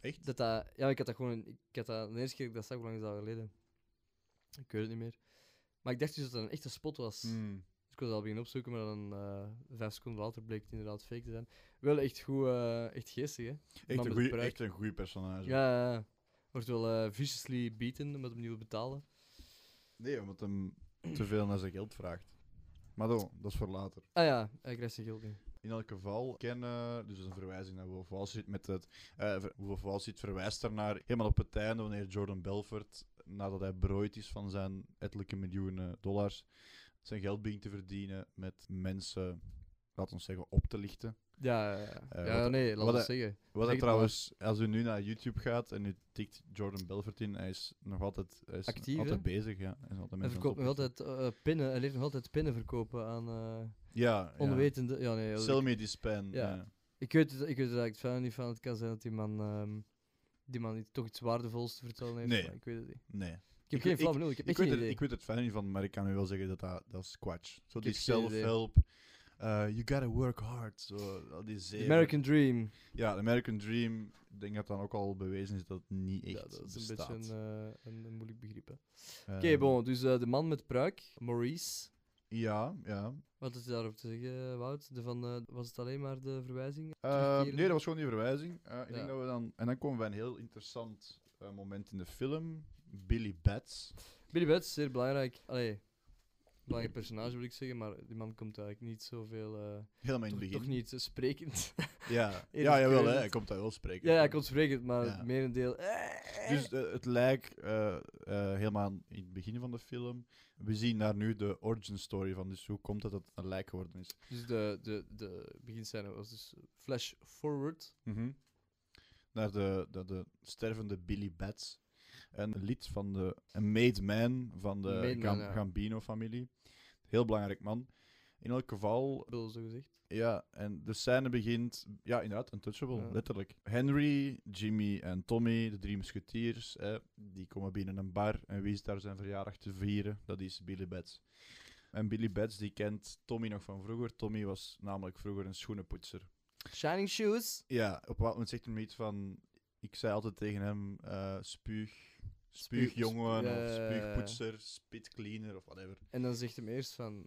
[SPEAKER 1] Echt?
[SPEAKER 2] Dat dat, ja, ik had dat gewoon, ik had dat, de eerste keer dat ik dat zag, hoe lang is dat geleden? Ik weet het niet meer. Maar ik dacht dus dat dat een echte spot was.
[SPEAKER 1] Hmm.
[SPEAKER 2] Dus ik was al beginnen opzoeken, maar dan eh, vijf seconden later bleek het inderdaad fake te zijn. Wel echt goed, eh, echt geestig hè.
[SPEAKER 1] Echt,
[SPEAKER 2] met
[SPEAKER 1] een
[SPEAKER 2] de
[SPEAKER 1] goeie,
[SPEAKER 2] pruik.
[SPEAKER 1] echt een goeie personage.
[SPEAKER 2] Ja, ja, ja. Wordt wel eh, viciously beaten omdat hem niet wil betalen.
[SPEAKER 1] Nee, omdat hem te veel naar zijn geld vraagt. Maar dan, dat is voor later.
[SPEAKER 2] Ah ja, hij krijgt zijn geld niet.
[SPEAKER 1] In elk geval kennen, dus dat is een verwijzing naar Wolf Wall Street, met het, eh, ver- Wolf Wall Street verwijst daarnaar helemaal op het einde wanneer Jordan Belfort, nadat hij berooid is van zijn ettelijke miljoenen dollars, zijn geld begint te verdienen met mensen, laten we zeggen, op te lichten.
[SPEAKER 2] Ja, ja, ja.
[SPEAKER 1] Eh,
[SPEAKER 2] ja
[SPEAKER 1] wat-
[SPEAKER 2] nee, laat
[SPEAKER 1] wat
[SPEAKER 2] ons zeggen.
[SPEAKER 1] Wat
[SPEAKER 2] Zeg
[SPEAKER 1] hij
[SPEAKER 2] het
[SPEAKER 1] trouwens, als u nu naar YouTube gaat en u tikt Jordan Belfort in, hij is nog altijd, hij is
[SPEAKER 2] Actief,
[SPEAKER 1] altijd
[SPEAKER 2] hè?
[SPEAKER 1] bezig. Ja. Hij is altijd
[SPEAKER 2] Hij
[SPEAKER 1] mensen aan
[SPEAKER 2] verkoopt
[SPEAKER 1] het
[SPEAKER 2] nog
[SPEAKER 1] oplichten.
[SPEAKER 2] altijd eh, pinnen, hij leert nog altijd pinnen verkopen aan eh,
[SPEAKER 1] Ja, ja.
[SPEAKER 2] onwetende. Ja, nee,
[SPEAKER 1] Sell
[SPEAKER 2] ik,
[SPEAKER 1] me this pen.
[SPEAKER 2] Ja.
[SPEAKER 1] ja.
[SPEAKER 2] ik weet het, ik weet het eigenlijk verder niet van. Het kan zijn dat die man, ehm, die man iets- toch iets waardevols te vertellen heeft.
[SPEAKER 1] Nee.
[SPEAKER 2] maar ik weet het niet.
[SPEAKER 1] Nee.
[SPEAKER 2] Ik heb
[SPEAKER 1] Ik-
[SPEAKER 2] geen
[SPEAKER 1] ik-
[SPEAKER 2] flauw benul, ik heb
[SPEAKER 1] Ik
[SPEAKER 2] echt
[SPEAKER 1] weet,
[SPEAKER 2] geen
[SPEAKER 1] het,
[SPEAKER 2] idee.
[SPEAKER 1] ik weet het fijn niet van, maar ik kan u wel zeggen dat dat, dat is kwatsch. Zo die
[SPEAKER 2] heb geen idee.
[SPEAKER 1] self-help. eh, you gotta work hard. Zo, al die
[SPEAKER 2] The
[SPEAKER 1] zeven.
[SPEAKER 2] American Dream.
[SPEAKER 1] Ja, de American Dream. Ik denk dat dan ook al bewezen is dat het niet echt
[SPEAKER 2] Ja, dat is een
[SPEAKER 1] bestaat.
[SPEAKER 2] beetje een, eh, een, een moeilijk begrip. hè. Oké,
[SPEAKER 1] Ehm,
[SPEAKER 2] bon, dus eh, de man met pruik, Maurice.
[SPEAKER 1] Ja, ja.
[SPEAKER 2] Wat is daarop te zeggen, Wout? De van, eh, was het alleen maar de verwijzing?
[SPEAKER 1] Ehm,
[SPEAKER 2] Terugkeren?
[SPEAKER 1] nee, dat was gewoon die verwijzing. Eh, ik
[SPEAKER 2] Ja.
[SPEAKER 1] denk dat we dan, en dan komen we bij een heel interessant eh, moment in de film. Billy Bats.
[SPEAKER 2] Billy Bats, zeer belangrijk. Allee, belangrijk personage wil ik zeggen, maar die man komt eigenlijk niet zoveel. eh,
[SPEAKER 1] Helemaal in
[SPEAKER 2] toch,
[SPEAKER 1] het
[SPEAKER 2] toch
[SPEAKER 1] begin.
[SPEAKER 2] niet eh, sprekend.
[SPEAKER 1] Ja,
[SPEAKER 2] Eerder
[SPEAKER 1] ja jawel, hè,
[SPEAKER 2] gekregen.
[SPEAKER 1] hij komt daar wel spreken.
[SPEAKER 2] ja, ja, komt sprekend, maar
[SPEAKER 1] Ja.
[SPEAKER 2] het merendeel.
[SPEAKER 1] Dus eh, het lijkt eh, eh, helemaal in het begin van de film. We zien daar nu de origin story van. Dus hoe komt het dat het een lijk geworden is?
[SPEAKER 2] Dus de, de, de beginscène was dus flash forward.
[SPEAKER 1] Naar de, de, de stervende Billy Bats. Een lied van de een made man van de
[SPEAKER 2] Made man,
[SPEAKER 1] Gam-
[SPEAKER 2] ja.
[SPEAKER 1] Gambino-familie. Heel belangrijk man. In elk geval,
[SPEAKER 2] Bull, zo gezegd.
[SPEAKER 1] ja, en de scène begint, ja, inderdaad, untouchable,
[SPEAKER 2] Ja.
[SPEAKER 1] letterlijk. Henry, Jimmy en Tommy, de drie musketiers, eh, die komen binnen een bar en wie is daar zijn verjaardag te vieren? Dat is Billy Bats. En Billy Bats, die kent Tommy nog van vroeger. Tommy was namelijk vroeger een schoenenpoetser.
[SPEAKER 2] Shining Shoes.
[SPEAKER 1] Ja, op een bepaald moment zegt hij iets van... Ik zei altijd tegen hem, eh spuug, spuugjongen,
[SPEAKER 2] sp-
[SPEAKER 1] of
[SPEAKER 2] ja, ja, ja, ja.
[SPEAKER 1] spuugpoetser, spitcleaner, of whatever.
[SPEAKER 2] En dan zegt hem eerst van...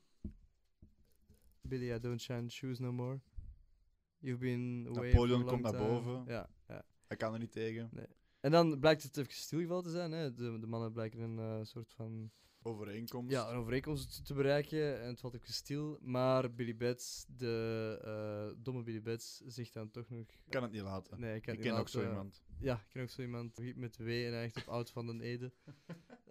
[SPEAKER 2] Billy, I don't shine shoes no more. You've been away
[SPEAKER 1] Napoleon
[SPEAKER 2] for a
[SPEAKER 1] komt
[SPEAKER 2] long
[SPEAKER 1] naar
[SPEAKER 2] time."
[SPEAKER 1] boven.
[SPEAKER 2] Ja, ja.
[SPEAKER 1] Hij kan er niet tegen.
[SPEAKER 2] En dan blijkt het even stilgevallen te zijn. Hè. De, de mannen blijken een eh, soort van
[SPEAKER 1] Overeenkomst.
[SPEAKER 2] ja, een overeenkomst te- te bereiken. En het valt even stil. Maar Billy Bats, de eh, domme Billy Bats, zegt dan toch nog...
[SPEAKER 1] Kan het niet laten.
[SPEAKER 2] Nee, ik kan
[SPEAKER 1] ik
[SPEAKER 2] niet
[SPEAKER 1] ken ook
[SPEAKER 2] laten.
[SPEAKER 1] zo iemand.
[SPEAKER 2] Ja, ik ken ook zo iemand met W en hij echt op oud van den Ede.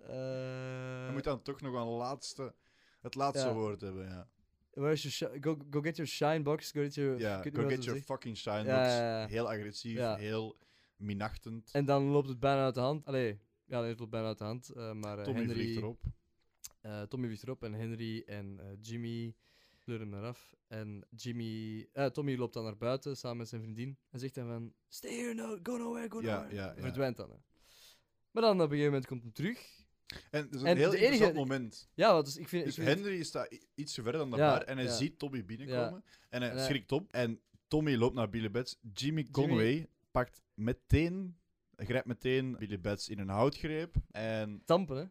[SPEAKER 2] Eh,
[SPEAKER 1] Hij moet dan toch nog een laatste, het laatste
[SPEAKER 2] ja.
[SPEAKER 1] woord hebben, ja.
[SPEAKER 2] Where is your shi- go, go get your shine box. Go get your.
[SPEAKER 1] Ja,
[SPEAKER 2] ik weet niet
[SPEAKER 1] go
[SPEAKER 2] wat
[SPEAKER 1] get
[SPEAKER 2] ze
[SPEAKER 1] your
[SPEAKER 2] zegt.
[SPEAKER 1] fucking shine
[SPEAKER 2] Ja,
[SPEAKER 1] box.
[SPEAKER 2] ja, ja.
[SPEAKER 1] Heel agressief,
[SPEAKER 2] Ja.
[SPEAKER 1] heel minachtend.
[SPEAKER 2] En dan loopt het bijna uit de hand. Allee, ja, het loopt bijna uit de hand. eh, maar eh,
[SPEAKER 1] Tommy
[SPEAKER 2] Henry,
[SPEAKER 1] vliegt erop.
[SPEAKER 2] eh, Tommy vliegt erop en Henry en eh, Jimmy Sleurde hem eraf. En Jimmy, eh, Tommy loopt dan naar buiten samen met zijn vriendin. En zegt dan van, stay here, no, go nowhere, go
[SPEAKER 1] Ja,
[SPEAKER 2] nowhere.
[SPEAKER 1] ja, ja.
[SPEAKER 2] Verdwijnt dan. Hè. Maar dan op een gegeven moment komt hem terug.
[SPEAKER 1] En het is een
[SPEAKER 2] En
[SPEAKER 1] heel
[SPEAKER 2] de enige-
[SPEAKER 1] interessant moment.
[SPEAKER 2] Ja, want dus ik vind...
[SPEAKER 1] Dus
[SPEAKER 2] ik vind
[SPEAKER 1] Henry staat i- ietsje verder dan de
[SPEAKER 2] Ja,
[SPEAKER 1] bar en hij
[SPEAKER 2] ja.
[SPEAKER 1] ziet Tommy binnenkomen. En hij
[SPEAKER 2] En hij-
[SPEAKER 1] schrikt op en Tommy loopt naar Billy Bats. Jimmy Conway pakt meteen, grijpt meteen Billy Bats in een houtgreep en
[SPEAKER 2] stampen, hè.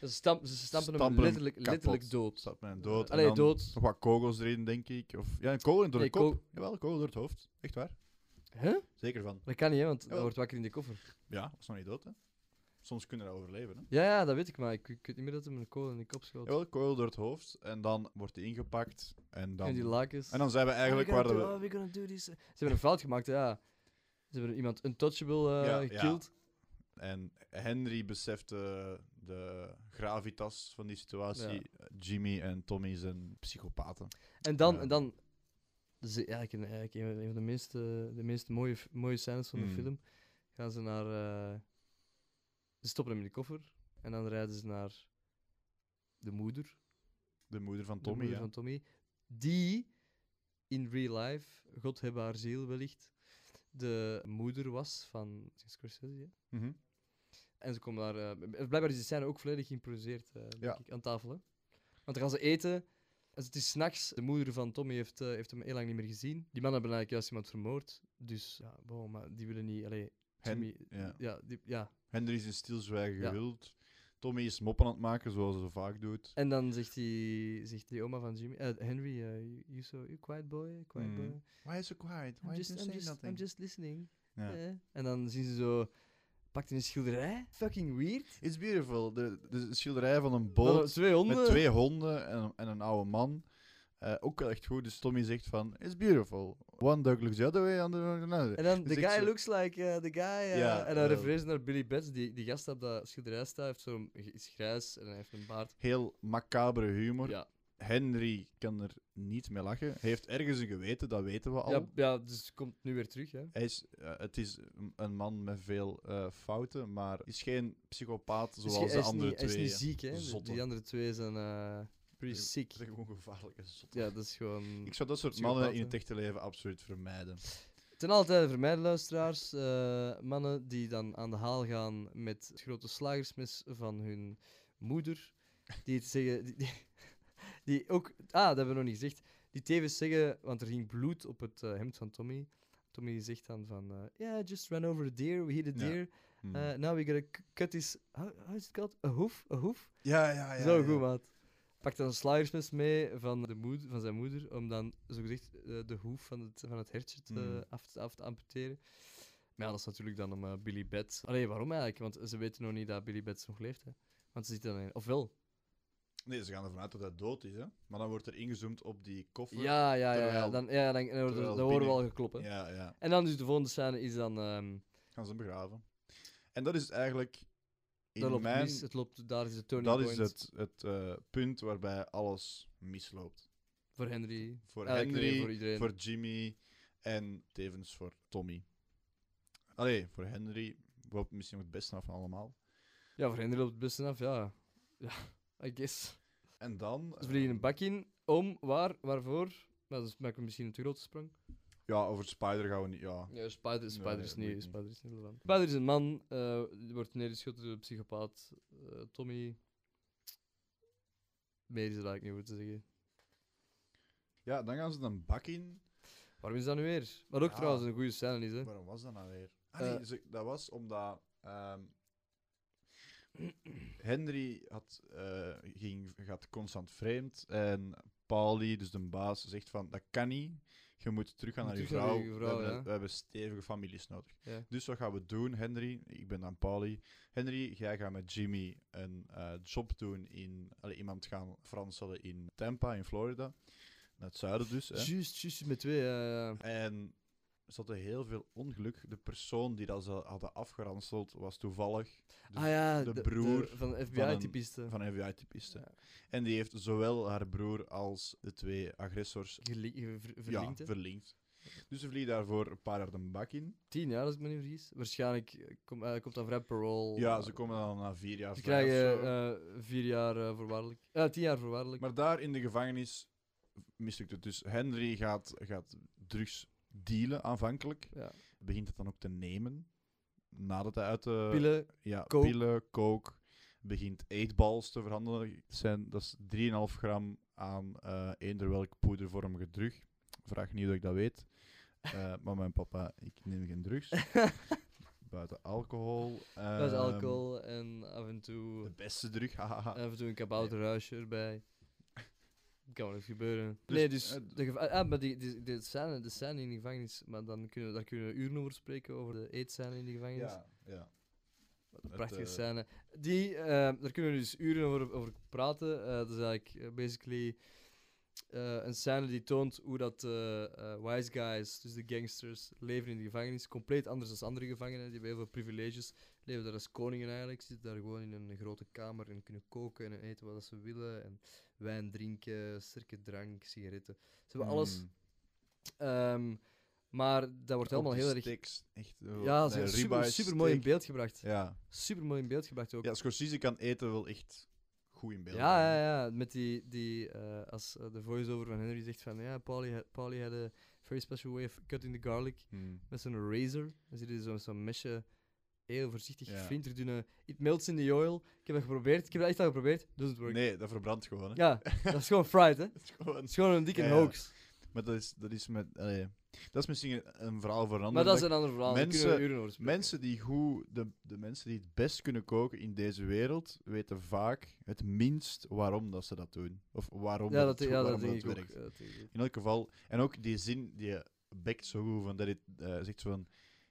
[SPEAKER 2] Ze, stamp, ze stampen,
[SPEAKER 1] Stampen
[SPEAKER 2] hem
[SPEAKER 1] hem
[SPEAKER 2] letterlijk, letterlijk
[SPEAKER 1] kapot.
[SPEAKER 2] dood.
[SPEAKER 1] stapt met een dood.
[SPEAKER 2] Allee,
[SPEAKER 1] en dan
[SPEAKER 2] dood.
[SPEAKER 1] Nog wat kogels erin, denk ik. Of, ja, een kogel door
[SPEAKER 2] Nee,
[SPEAKER 1] de kop.
[SPEAKER 2] ko-
[SPEAKER 1] Jawel, een kogel door het hoofd. Echt waar.
[SPEAKER 2] Huh?
[SPEAKER 1] Zeker van.
[SPEAKER 2] Dat kan niet, hè, want dat
[SPEAKER 1] Jawel.
[SPEAKER 2] wordt wakker in de koffer.
[SPEAKER 1] Ja, was nog niet dood, hè. Soms kunnen we dat overleven, hè.
[SPEAKER 2] Ja, ja, dat weet ik, maar ik, ik weet niet meer dat hem een kool in de kop schoot.
[SPEAKER 1] Jawel, kogel door het hoofd en dan wordt hij ingepakt en dan...
[SPEAKER 2] en die lakens.
[SPEAKER 1] En dan zijn we eigenlijk
[SPEAKER 3] How
[SPEAKER 1] waar
[SPEAKER 3] we gonna do-
[SPEAKER 1] we...
[SPEAKER 3] how we gonna do this?
[SPEAKER 2] Ze hebben een fout gemaakt, ja. Ze hebben iemand untouchable eh
[SPEAKER 1] Ja, ja.
[SPEAKER 2] gekilled.
[SPEAKER 1] En Henry besefte de gravitas van die situatie. Jimmy en Tommy zijn psychopaten.
[SPEAKER 2] En dan,
[SPEAKER 1] Ja.
[SPEAKER 2] en dan dat is eigenlijk, een, eigenlijk een een van de meest, eh, de meest mooie, f- mooie scènes van de
[SPEAKER 1] Mm.
[SPEAKER 2] film. Gaan ze naar. eh, ze stoppen hem in de koffer en dan rijden ze naar de moeder,
[SPEAKER 1] De moeder van
[SPEAKER 2] de
[SPEAKER 1] Tommy,
[SPEAKER 2] moeder
[SPEAKER 1] ja.
[SPEAKER 2] van Tommy, die in real life, God heb haar ziel wellicht, de moeder was van Scorsese. hè?
[SPEAKER 1] Mhm.
[SPEAKER 2] En ze komen daar. eh, b- blijkbaar is die scène ook volledig geïmproviseerd eh, denk
[SPEAKER 1] Ja.
[SPEAKER 2] ik, aan tafel. Hè? Want dan gaan ze eten. En het is s'nachts. De moeder van Tommy heeft, eh, heeft hem heel lang niet meer gezien. Die mannen hebben eigenlijk juist iemand vermoord. Dus ja, wow, maar die willen niet. Allee,
[SPEAKER 1] Hen-
[SPEAKER 2] Tommy,
[SPEAKER 1] ja.
[SPEAKER 2] ja, die, ja.
[SPEAKER 1] Henry is in stilzwijgen
[SPEAKER 2] Ja.
[SPEAKER 1] gehuld. Tommy is moppen aan het maken, zoals hij zo vaak doet.
[SPEAKER 2] En dan zegt die, zegt die oma van Jimmy, eh, Henry, eh, you- you so you quiet boy, quiet
[SPEAKER 1] Mhm.
[SPEAKER 2] boy.
[SPEAKER 1] Why is so quiet?
[SPEAKER 2] I'm
[SPEAKER 1] Why
[SPEAKER 2] just,
[SPEAKER 1] is
[SPEAKER 2] I'm, just, I'm just listening.
[SPEAKER 1] Ja.
[SPEAKER 2] eh. En dan zien ze zo, pakt in een schilderij, fucking weird.
[SPEAKER 1] It's beautiful. De, de schilderij van een
[SPEAKER 2] Dan
[SPEAKER 1] boot
[SPEAKER 2] twee honden.
[SPEAKER 1] met twee honden en, een- en een oude man. Eh, ook wel echt goed. Dus Tommy zegt van, it's beautiful. One dog looks the other way, and another.
[SPEAKER 2] En dan,
[SPEAKER 1] Dus
[SPEAKER 2] the
[SPEAKER 1] ik
[SPEAKER 2] guy
[SPEAKER 1] zo-
[SPEAKER 2] looks like eh, the guy. eh,
[SPEAKER 1] Ja,
[SPEAKER 2] en dan
[SPEAKER 1] eh,
[SPEAKER 2] refereert ze naar Billy Betts, die, die gast op dat schilderij staat. heeft zo'n is grijs en hij heeft een baard.
[SPEAKER 1] Heel macabere humor.
[SPEAKER 2] Ja.
[SPEAKER 1] Henry kan er niet mee lachen. Hij heeft ergens een geweten, dat weten we al.
[SPEAKER 2] Ja, ja, dus komt nu weer terug. Hè.
[SPEAKER 1] Hij is, eh, het is een- een man met veel eh, fouten, maar is geen psychopaat
[SPEAKER 2] Dus
[SPEAKER 1] zoals
[SPEAKER 2] hij
[SPEAKER 1] de
[SPEAKER 2] is
[SPEAKER 1] andere
[SPEAKER 2] niet,
[SPEAKER 1] twee.
[SPEAKER 2] Hij is niet ziek, hè?
[SPEAKER 1] Zotten.
[SPEAKER 2] Die andere twee zijn eh, pretty
[SPEAKER 1] Ja.
[SPEAKER 2] sick.
[SPEAKER 1] Dat zijn gewoon gevaarlijke zotten.
[SPEAKER 2] Ja, dat is gewoon.
[SPEAKER 1] Ik zou dat soort
[SPEAKER 2] Psychopaat,
[SPEAKER 1] mannen in
[SPEAKER 2] hè.
[SPEAKER 1] het echte leven absoluut vermijden.
[SPEAKER 2] Ten alle tijde voor mijn luisteraars, eh, mannen die dan aan de haal gaan met het grote slagersmes van hun moeder. Die het zeggen. Die, die, die ook. Ah, dat hebben we nog niet gezegd. Die tevens zeggen, want er ging bloed op het eh, hemd van Tommy. Tommy zegt dan van, eh, yeah, just ran over a deer, we hit a
[SPEAKER 1] Ja.
[SPEAKER 2] deer.
[SPEAKER 1] Hmm.
[SPEAKER 2] Eh, now we gotta c- cut his, how, how is it called? A hoof? A hoof?
[SPEAKER 1] ja, ja, ja.
[SPEAKER 2] zo
[SPEAKER 1] ja.
[SPEAKER 2] goed, maat. Pakt dan een slagersmes mee van, de moed, van zijn moeder, om dan, zogezegd, eh, de hoef van het, van het hertje te,
[SPEAKER 1] Mhm.
[SPEAKER 2] af, te, af te amputeren. Maar ja, dat is natuurlijk dan om eh, Billy Bats... Allee, waarom eigenlijk? Want ze weten nog niet dat Billy Bats nog leeft, hè. Want ze zitten dan in... Ofwel.
[SPEAKER 1] Nee, ze gaan ervan uit dat hij dood is, hè. Maar dan wordt er ingezoomd op die koffer.
[SPEAKER 2] Ja, ja, ja. ja.
[SPEAKER 1] terwijl-
[SPEAKER 2] Dan, ja, dan, dan, wordt er-
[SPEAKER 1] terwijl
[SPEAKER 2] dan horen we al
[SPEAKER 1] binnen-
[SPEAKER 2] gekloppen.
[SPEAKER 1] ja, ja.
[SPEAKER 2] En dan dus de volgende scène is dan... ehm,
[SPEAKER 1] Gaan ze hem begraven. En dat is eigenlijk... In
[SPEAKER 2] dat loopt
[SPEAKER 1] mijn...
[SPEAKER 2] mis, het loopt, daar is de turning
[SPEAKER 1] Dat
[SPEAKER 2] point
[SPEAKER 1] is het, het eh, punt waarbij alles misloopt.
[SPEAKER 2] voor Henry.
[SPEAKER 1] Voor
[SPEAKER 2] Eigenlijk, nee,
[SPEAKER 1] Henry,
[SPEAKER 2] voor iedereen.
[SPEAKER 1] voor Jimmy en tevens voor Tommy. Allee, voor Henry loopt het misschien nog het beste af van allemaal.
[SPEAKER 2] Ja, voor Henry loopt het best af, ja. Ja, I guess.
[SPEAKER 1] En dan... eh,
[SPEAKER 2] Ze vliegen een bak in, om, waar, waarvoor? Maar dat maken we misschien een te grote sprong.
[SPEAKER 1] Ja, over Spider gaan we niet... Ja.
[SPEAKER 2] Ja, Spider, Spider,
[SPEAKER 1] Nee,
[SPEAKER 2] is,
[SPEAKER 1] dat moet
[SPEAKER 2] niet,
[SPEAKER 1] niet.
[SPEAKER 2] Spider is niet relevant. Spider is een man, eh, die wordt neergeschoten door een psychopaat. eh, Tommy. Meer is er eigenlijk niet over te zeggen.
[SPEAKER 1] ja, dan gaan ze een bak in.
[SPEAKER 2] Waarom is dat nu weer? Wat ook
[SPEAKER 1] Ja.
[SPEAKER 2] trouwens een goede scène is, hè?
[SPEAKER 1] Waarom was dat nou weer? Ah, nee,
[SPEAKER 2] Eh.
[SPEAKER 1] ze- dat was omdat... ehm, Henry had, eh, ging, gaat constant vreemd en Pauli, dus de baas, zegt van dat kan niet. Je moet teruggaan
[SPEAKER 2] Moet
[SPEAKER 1] naar je
[SPEAKER 2] terug naar
[SPEAKER 1] vrouw.
[SPEAKER 2] je
[SPEAKER 1] we,
[SPEAKER 2] vrouw,
[SPEAKER 1] hebben,
[SPEAKER 2] ja.
[SPEAKER 1] we hebben stevige families nodig.
[SPEAKER 2] Ja.
[SPEAKER 1] Dus wat gaan we doen, Henry? Ik ben dan Pauli. Henry, jij gaat met Jimmy een eh, job doen in... allee, iemand gaan franselen in Tampa, in Florida. Naar het zuiden dus. Hè.
[SPEAKER 2] Juist, juist met twee. eh,
[SPEAKER 1] En ze hadden heel veel ongeluk. De persoon die dat ze hadden afgeranseld was toevallig Dus
[SPEAKER 2] ah ja,
[SPEAKER 1] de broer
[SPEAKER 2] van de
[SPEAKER 1] van een-
[SPEAKER 2] FBI-typisten.
[SPEAKER 1] van een FBI-typiste.
[SPEAKER 2] Ja.
[SPEAKER 1] En die heeft zowel haar broer als de twee agressors
[SPEAKER 2] Verlinkt,
[SPEAKER 1] ja,
[SPEAKER 2] hè?
[SPEAKER 1] verlinkt. Dus ze vliegen daarvoor een paar jaar de bak in.
[SPEAKER 2] Tien jaar, als ik me niet vergis. Waarschijnlijk eh, kom- eh, komt dan vrij parole.
[SPEAKER 1] Ja,
[SPEAKER 2] eh,
[SPEAKER 1] ze komen dan na vier jaar
[SPEAKER 2] Ze
[SPEAKER 1] vrij of
[SPEAKER 2] krijgen
[SPEAKER 1] zo.
[SPEAKER 2] eh, vier jaar eh, voorwaardelijk. Eh, tien jaar voorwaardelijk.
[SPEAKER 1] Maar daar in de gevangenis mislukte. Dus Henry gaat, gaat drugs dealen aanvankelijk.
[SPEAKER 2] Ja.
[SPEAKER 1] Begint het dan ook te nemen. Nadat hij uit de...
[SPEAKER 2] Pillen,
[SPEAKER 1] Ja,
[SPEAKER 2] Coke.
[SPEAKER 1] pillen, coke. Begint eetballs te verhandelen. Dat, zijn, dat is 3,5 gram aan eh eender welk poedervormige drug. Vraag niet hoe ik dat weet. Eh, maar mijn papa, ik neem geen drugs. Buiten alcohol.
[SPEAKER 2] dat is
[SPEAKER 1] ehm,
[SPEAKER 2] alcohol Eh, en af en toe,
[SPEAKER 1] De beste drug, hahaha.
[SPEAKER 2] en af en toe een kabouterhuisje erbij. Kan wel eens gebeuren.
[SPEAKER 1] Dus,
[SPEAKER 2] nee, dus
[SPEAKER 1] eh,
[SPEAKER 2] de geva- ah, maar die, die, die scène, de scène in de gevangenis, maar dan kunnen, we- daar kunnen we uren over spreken, over de eetscène in de gevangenis.
[SPEAKER 1] ja, ja.
[SPEAKER 2] Wat een
[SPEAKER 1] Het,
[SPEAKER 2] prachtige
[SPEAKER 1] eh,
[SPEAKER 2] scène. Die, eh, daar kunnen we dus uren over, over praten. Eh, dat is eigenlijk eh, basically eh, een scène die toont hoe dat eh, eh, wise guys, dus de gangsters, leven in de gevangenis. Compleet anders dan andere gevangenen. Die hebben heel veel privileges. Leven daar als koningen eigenlijk. Ze zitten daar gewoon in een grote kamer en kunnen koken en eten wat ze willen. En wijn drinken, sterke drank, sigaretten. Ze hebben alles.
[SPEAKER 1] Mm.
[SPEAKER 2] ehm, maar dat wordt allemaal
[SPEAKER 1] Ook
[SPEAKER 2] heel
[SPEAKER 1] die
[SPEAKER 2] erg...
[SPEAKER 1] steaks, echt, oh,
[SPEAKER 2] Ja,
[SPEAKER 1] nee,
[SPEAKER 2] super,
[SPEAKER 1] ribeye
[SPEAKER 2] super mooi in
[SPEAKER 1] steak.
[SPEAKER 2] beeld gebracht.
[SPEAKER 1] Ja.
[SPEAKER 2] Super mooi in beeld gebracht ook.
[SPEAKER 1] ja, Scorsese kan eten wel echt goed in beeld.
[SPEAKER 2] Ja,
[SPEAKER 1] brengen.
[SPEAKER 2] ja, ja. Met die, die eh, als eh, de voice-over van Henry zegt van, ja, Paulie had, Paulie had a very special way of cutting the garlic
[SPEAKER 1] Hmm.
[SPEAKER 2] met zo'n razor. Dan zit hij zo'n zo'n mesje heel voorzichtig
[SPEAKER 1] Ja.
[SPEAKER 2] flinter doen. eh, It melts in the oil. Ik heb dat geprobeerd. Ik heb dat echt al geprobeerd. Doesn't work.
[SPEAKER 1] Nee, dat verbrandt gewoon. Hè.
[SPEAKER 2] Ja, dat is gewoon fried, hè.
[SPEAKER 1] Het is gewoon-
[SPEAKER 2] Dat is gewoon een dikke
[SPEAKER 1] Ja, ja.
[SPEAKER 2] hoax.
[SPEAKER 1] Maar dat is, dat is met. allee, dat is misschien een, een verhaal voor een andere
[SPEAKER 2] Maar dat is
[SPEAKER 1] dag.
[SPEAKER 2] een ander verhaal. Daar kunnen we
[SPEAKER 1] mensen-
[SPEAKER 2] uren over spreken.
[SPEAKER 1] Mensen die goed, de, de mensen die het best kunnen koken in deze wereld, weten vaak het minst waarom dat ze dat doen. Of waarom
[SPEAKER 2] Ja,
[SPEAKER 1] dat,
[SPEAKER 2] dat,
[SPEAKER 1] het,
[SPEAKER 2] ja, dat
[SPEAKER 1] waarom dat
[SPEAKER 2] denk ik
[SPEAKER 1] het
[SPEAKER 2] ook.
[SPEAKER 1] werkt.
[SPEAKER 2] Ja, dat denk ik ook.
[SPEAKER 1] In elk geval, en ook die zin die je bekt zo goed van dat het eh, zegt zo van.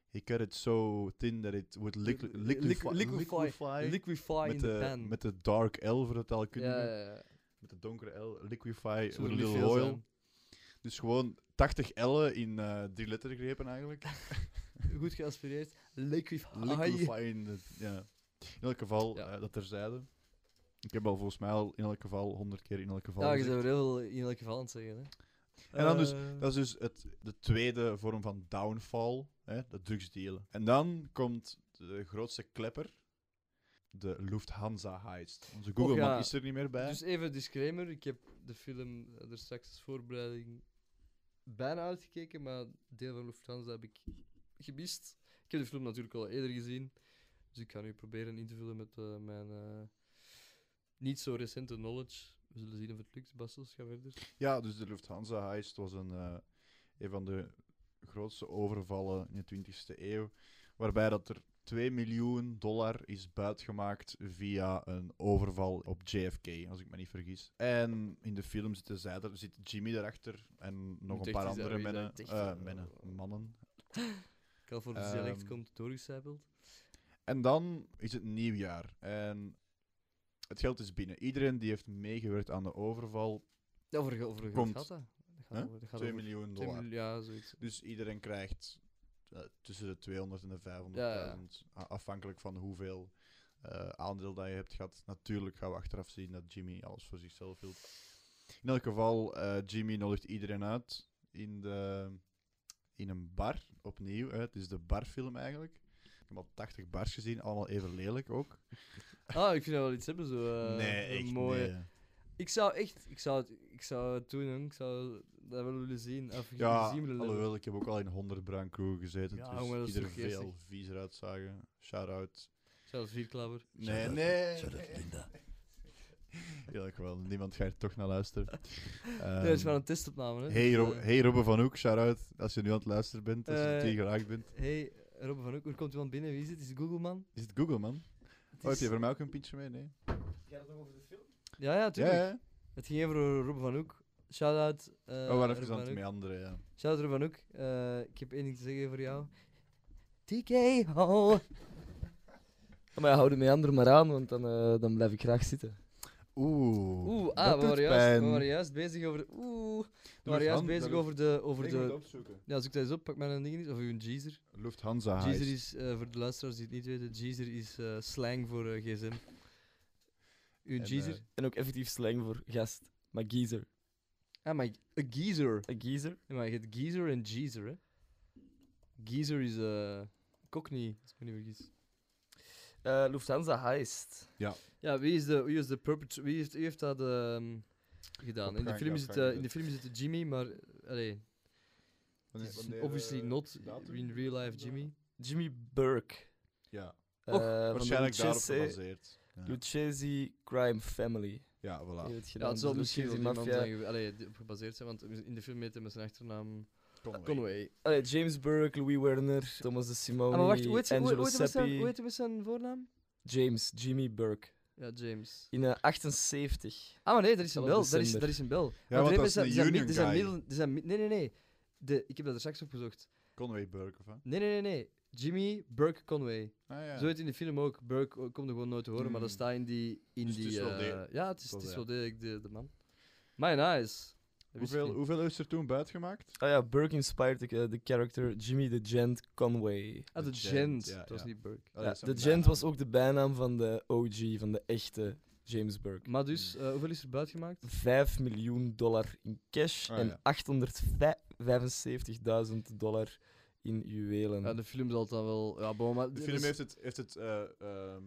[SPEAKER 1] He cut it so thin that it would liqui-
[SPEAKER 2] Liqui-
[SPEAKER 1] liquefy.
[SPEAKER 2] liquefy. Liquefy in
[SPEAKER 1] met,
[SPEAKER 2] the
[SPEAKER 1] de,
[SPEAKER 2] pan.
[SPEAKER 1] met de dark L voor het al
[SPEAKER 2] ja,
[SPEAKER 1] kunnen.
[SPEAKER 2] ja, ja.
[SPEAKER 1] Met de donkere L. Liquefy
[SPEAKER 2] Zullen
[SPEAKER 1] with a
[SPEAKER 2] er niet
[SPEAKER 1] little
[SPEAKER 2] veel
[SPEAKER 1] oil.
[SPEAKER 2] zijn.
[SPEAKER 1] Dus gewoon 80 L'en in eh drie lettergrepen eigenlijk.
[SPEAKER 2] Goed geaspireerd. Liquefy.
[SPEAKER 1] Liquefy in de- ja. In elk geval,
[SPEAKER 2] Ja.
[SPEAKER 1] eh, dat terzijde. Ik heb al volgens mij al in elk geval 100 keer in elk geval.
[SPEAKER 2] Ja, je
[SPEAKER 1] gezegd.
[SPEAKER 2] zou er heel veel in elk geval aan het zeggen. Hè.
[SPEAKER 1] En dan dus-
[SPEAKER 2] Eh,
[SPEAKER 1] Dat is dus het, de tweede vorm van downfall, hè, dat drugsdealen. En dan komt de grootste klepper, de Lufthansa heist. Onze Google
[SPEAKER 2] ja.
[SPEAKER 1] is er niet meer bij.
[SPEAKER 2] Dus even disclaimer: ik heb de film eh, er straks als voorbereiding bijna uitgekeken, maar deel van Lufthansa heb ik gemist. Ik heb de film natuurlijk al eerder gezien, dus ik ga nu proberen in te vullen met eh, mijn eh, niet zo recente knowledge. We zullen zien of het lukt. Bastos, ga verder.
[SPEAKER 1] Ja, dus de Lufthansa heist was een, eh, een van de grootste overvallen in de 20e eeuw. Waarbij dat er 2 miljoen dollar is buitgemaakt via een overval op JFK, als ik me niet vergis. En in de film zitten zij er, zit Jimmy erachter en nog
[SPEAKER 2] Moet
[SPEAKER 1] een
[SPEAKER 2] echt
[SPEAKER 1] paar
[SPEAKER 2] iets
[SPEAKER 1] andere
[SPEAKER 2] hebben,
[SPEAKER 1] mennen,
[SPEAKER 2] dat echt,
[SPEAKER 1] eh,
[SPEAKER 2] eh,
[SPEAKER 1] mennen, mannen.
[SPEAKER 2] Californisch dialect
[SPEAKER 1] Ehm.
[SPEAKER 2] komt doorgecijpeld.
[SPEAKER 1] En dan is het nieuwjaar en het geld is binnen. Iedereen die heeft meegewerkt aan de overval,
[SPEAKER 2] Ja, over, over hoe
[SPEAKER 1] Komt.
[SPEAKER 2] gaat dat? Dat gaat
[SPEAKER 1] Huh?
[SPEAKER 2] over- dat gaat
[SPEAKER 1] 2
[SPEAKER 2] over-
[SPEAKER 1] miljoen
[SPEAKER 2] twee
[SPEAKER 1] dollar.
[SPEAKER 2] miljoen- Ja, zoiets.
[SPEAKER 1] Dus iedereen krijgt eh, tussen de 200 en de 500.000,
[SPEAKER 2] Ja, ja.
[SPEAKER 1] a- afhankelijk van hoeveel eh, aandeel dat je hebt gehad. Natuurlijk gaan we achteraf zien dat Jimmy alles voor zichzelf hield. In elk geval, eh, Jimmy nodigt iedereen uit in, de, in een bar, opnieuw. hè. Het is de barfilm eigenlijk. Ik heb al 80 bars gezien, allemaal even lelijk ook.
[SPEAKER 2] Ah, ik vind dat wel iets hebben, zo. eh,
[SPEAKER 1] nee,
[SPEAKER 2] een
[SPEAKER 1] echt
[SPEAKER 2] mooie-
[SPEAKER 1] nee.
[SPEAKER 2] Ik zou echt, ik zou het, ik zou het doen, jong. ik zou dat wel willen zien. Of
[SPEAKER 1] Ja,
[SPEAKER 2] gezien willen hebben.
[SPEAKER 1] alhoewel, ik heb ook al in 100 bruin crew gezeten,
[SPEAKER 2] Ja,
[SPEAKER 1] dus
[SPEAKER 2] jongen, dat is
[SPEAKER 1] die er
[SPEAKER 2] toch geestig.
[SPEAKER 1] veel viezer uitzagen. Shout-out
[SPEAKER 2] Zelfs vierklapper.
[SPEAKER 1] Nee,
[SPEAKER 4] Shout-out-
[SPEAKER 1] nee.
[SPEAKER 4] shout-out Linda.
[SPEAKER 1] Heel erg wel. Niemand gaat er toch naar luisteren.
[SPEAKER 2] nee, het is
[SPEAKER 1] Ehm,
[SPEAKER 2] maar een testopname, hè.
[SPEAKER 1] hey,
[SPEAKER 2] dus,
[SPEAKER 1] Rob-
[SPEAKER 2] eh,
[SPEAKER 1] hey Robbe van Hoek, shout-out. Als je nu aan het luisteren bent, als je
[SPEAKER 2] Eh,
[SPEAKER 1] het hier geraakt bent.
[SPEAKER 2] hey, Robin van Hoek, er komt iemand binnen. Wie is het? Is het Google, man?
[SPEAKER 1] Is het Google, man?
[SPEAKER 2] Het
[SPEAKER 1] Oh, heb
[SPEAKER 2] is-
[SPEAKER 1] je voor mij ook een pintje mee? Nee.
[SPEAKER 3] Gaat het nog over de film?
[SPEAKER 2] Ja, ja,
[SPEAKER 1] Ja,
[SPEAKER 2] tuurlijk.
[SPEAKER 1] ja.
[SPEAKER 2] Het ging even over Robin van Hoek. Shout-out. eh,
[SPEAKER 1] oh, waar even
[SPEAKER 2] Rob
[SPEAKER 1] aan
[SPEAKER 2] van
[SPEAKER 1] het
[SPEAKER 2] Hoek.
[SPEAKER 1] meanderen, ja.
[SPEAKER 2] Shout-out Robin van Hoek. Eh, ik heb één ding te zeggen voor jou. TKO.
[SPEAKER 3] Maar ja, hou de meander maar aan, want dan, eh, dan blijf ik graag zitten.
[SPEAKER 1] Oeh,
[SPEAKER 2] Oeh,
[SPEAKER 1] dat
[SPEAKER 2] ah, we
[SPEAKER 1] doet
[SPEAKER 2] waren, juist, we
[SPEAKER 1] pijn.
[SPEAKER 2] waren juist bezig over... Oeh, we waren juist
[SPEAKER 1] Lufthansa-
[SPEAKER 2] bezig over de... Over
[SPEAKER 1] Ik moet het
[SPEAKER 2] de
[SPEAKER 1] opzoeken.
[SPEAKER 2] ja, zoek dat eens op, pak mijn ding eens. Of uw geezer.
[SPEAKER 1] Lufthansa
[SPEAKER 2] Jeezer
[SPEAKER 1] heist.
[SPEAKER 2] is, eh, voor de luisteraars die het niet weten, Jeezer is eh, slang voor eh, gsm. Uw
[SPEAKER 1] En,
[SPEAKER 2] Jeezer?
[SPEAKER 1] eh,
[SPEAKER 3] En ook effectief slang voor gast. Maar geezer.
[SPEAKER 2] ah, maar een geezer.
[SPEAKER 3] Een Eh, geezer?
[SPEAKER 2] Nee, maar je hebt geezer en Jeezer, hè. Geezer is eh cockney, als ik me niet vergis.
[SPEAKER 3] Eh, Lufthansa heist.
[SPEAKER 2] Ja, wie is de, wie is de perpetrator? Wie heeft, wie heeft dat... ehm, gedaan. In de,
[SPEAKER 1] Opgang,
[SPEAKER 2] film is het,
[SPEAKER 1] afgang,
[SPEAKER 2] eh,
[SPEAKER 1] dus.
[SPEAKER 2] in de film is het Jimmy, maar eh, allee, het is eh, obviously
[SPEAKER 1] eh,
[SPEAKER 2] not in real life Jimmy.
[SPEAKER 3] Jimmy Burke.
[SPEAKER 1] Ja,
[SPEAKER 3] eh,
[SPEAKER 2] Och,
[SPEAKER 3] van de
[SPEAKER 1] waarschijnlijk daarop
[SPEAKER 3] Lucchese-
[SPEAKER 1] gebaseerd. Ja,
[SPEAKER 3] Lucchese Crime Family.
[SPEAKER 1] ja voilà.
[SPEAKER 3] heeft het
[SPEAKER 2] Ja,
[SPEAKER 3] gedaan.
[SPEAKER 2] het zal
[SPEAKER 3] Dus
[SPEAKER 2] misschien wel
[SPEAKER 3] Lucchese
[SPEAKER 2] iemand
[SPEAKER 3] Mafia.
[SPEAKER 2] zijn ge- allee, die op gebaseerd zijn, want in de film heet hij met zijn achternaam
[SPEAKER 1] Conway.
[SPEAKER 2] Conway.
[SPEAKER 3] Allee, James Burke, Louis Werner, Thomas de Simone,
[SPEAKER 2] Ah, maar wacht, hoe heet, hoe,
[SPEAKER 3] Angelo
[SPEAKER 2] hoe, heet hij met zijn, hoe
[SPEAKER 3] Seppi,
[SPEAKER 2] heet hij met zijn voornaam?
[SPEAKER 3] James, Jimmy Burke.
[SPEAKER 2] Ja, James.
[SPEAKER 3] In eh, 78.
[SPEAKER 2] Ah, maar nee, dat is een
[SPEAKER 3] Zelfs
[SPEAKER 2] bel. Dat is,
[SPEAKER 3] december.
[SPEAKER 2] dat is een bel.
[SPEAKER 1] Ja, want dat is
[SPEAKER 2] zijn,
[SPEAKER 1] een
[SPEAKER 2] zijn,
[SPEAKER 1] union
[SPEAKER 2] mid- zijn,
[SPEAKER 1] guy.
[SPEAKER 2] middel- er zijn mid- Nee, nee, nee. De, ik heb dat er straks opgezocht.
[SPEAKER 1] Conway Burke, of hè?
[SPEAKER 2] Nee, nee, nee, nee. Jimmy Burke Conway.
[SPEAKER 1] Ah, ja.
[SPEAKER 2] Zo heet in de film ook. Burke eh, komt er gewoon nooit te horen, maar dat
[SPEAKER 1] Hmm.
[SPEAKER 2] staat in die... In
[SPEAKER 1] Dus het
[SPEAKER 2] die
[SPEAKER 1] is wel
[SPEAKER 2] eh,
[SPEAKER 1] degelijk.
[SPEAKER 2] ja, het is,
[SPEAKER 1] Wel
[SPEAKER 2] het is wel
[SPEAKER 1] degelijk.
[SPEAKER 2] degelijk de, de man. My nice.
[SPEAKER 1] hoeveel, hoeveel is er toen buitgemaakt?
[SPEAKER 3] Ah ja, Burke inspired the, eh, the character Jimmy the Gent Conway.
[SPEAKER 2] Ah, de
[SPEAKER 1] De Gent,
[SPEAKER 2] Gent.
[SPEAKER 1] ja,
[SPEAKER 2] Dat was
[SPEAKER 1] ja.
[SPEAKER 2] niet Burke.
[SPEAKER 1] Ah,
[SPEAKER 3] Ja,
[SPEAKER 1] dat is
[SPEAKER 3] de
[SPEAKER 1] een
[SPEAKER 3] Gent was
[SPEAKER 1] bijnaam.
[SPEAKER 3] ook de bijnaam van de OG, van de echte James Burke.
[SPEAKER 2] Maar dus,
[SPEAKER 1] Mm.
[SPEAKER 2] eh, hoeveel is er buitgemaakt?
[SPEAKER 3] 5 miljoen dollar in cash
[SPEAKER 1] Ah, ja.
[SPEAKER 3] en 875.000 dollar in juwelen.
[SPEAKER 2] Ja, de film zal het dan wel... Ja, bon, maar...
[SPEAKER 1] De
[SPEAKER 2] dit
[SPEAKER 1] film
[SPEAKER 2] is-
[SPEAKER 1] heeft het, heeft het eh, ehm,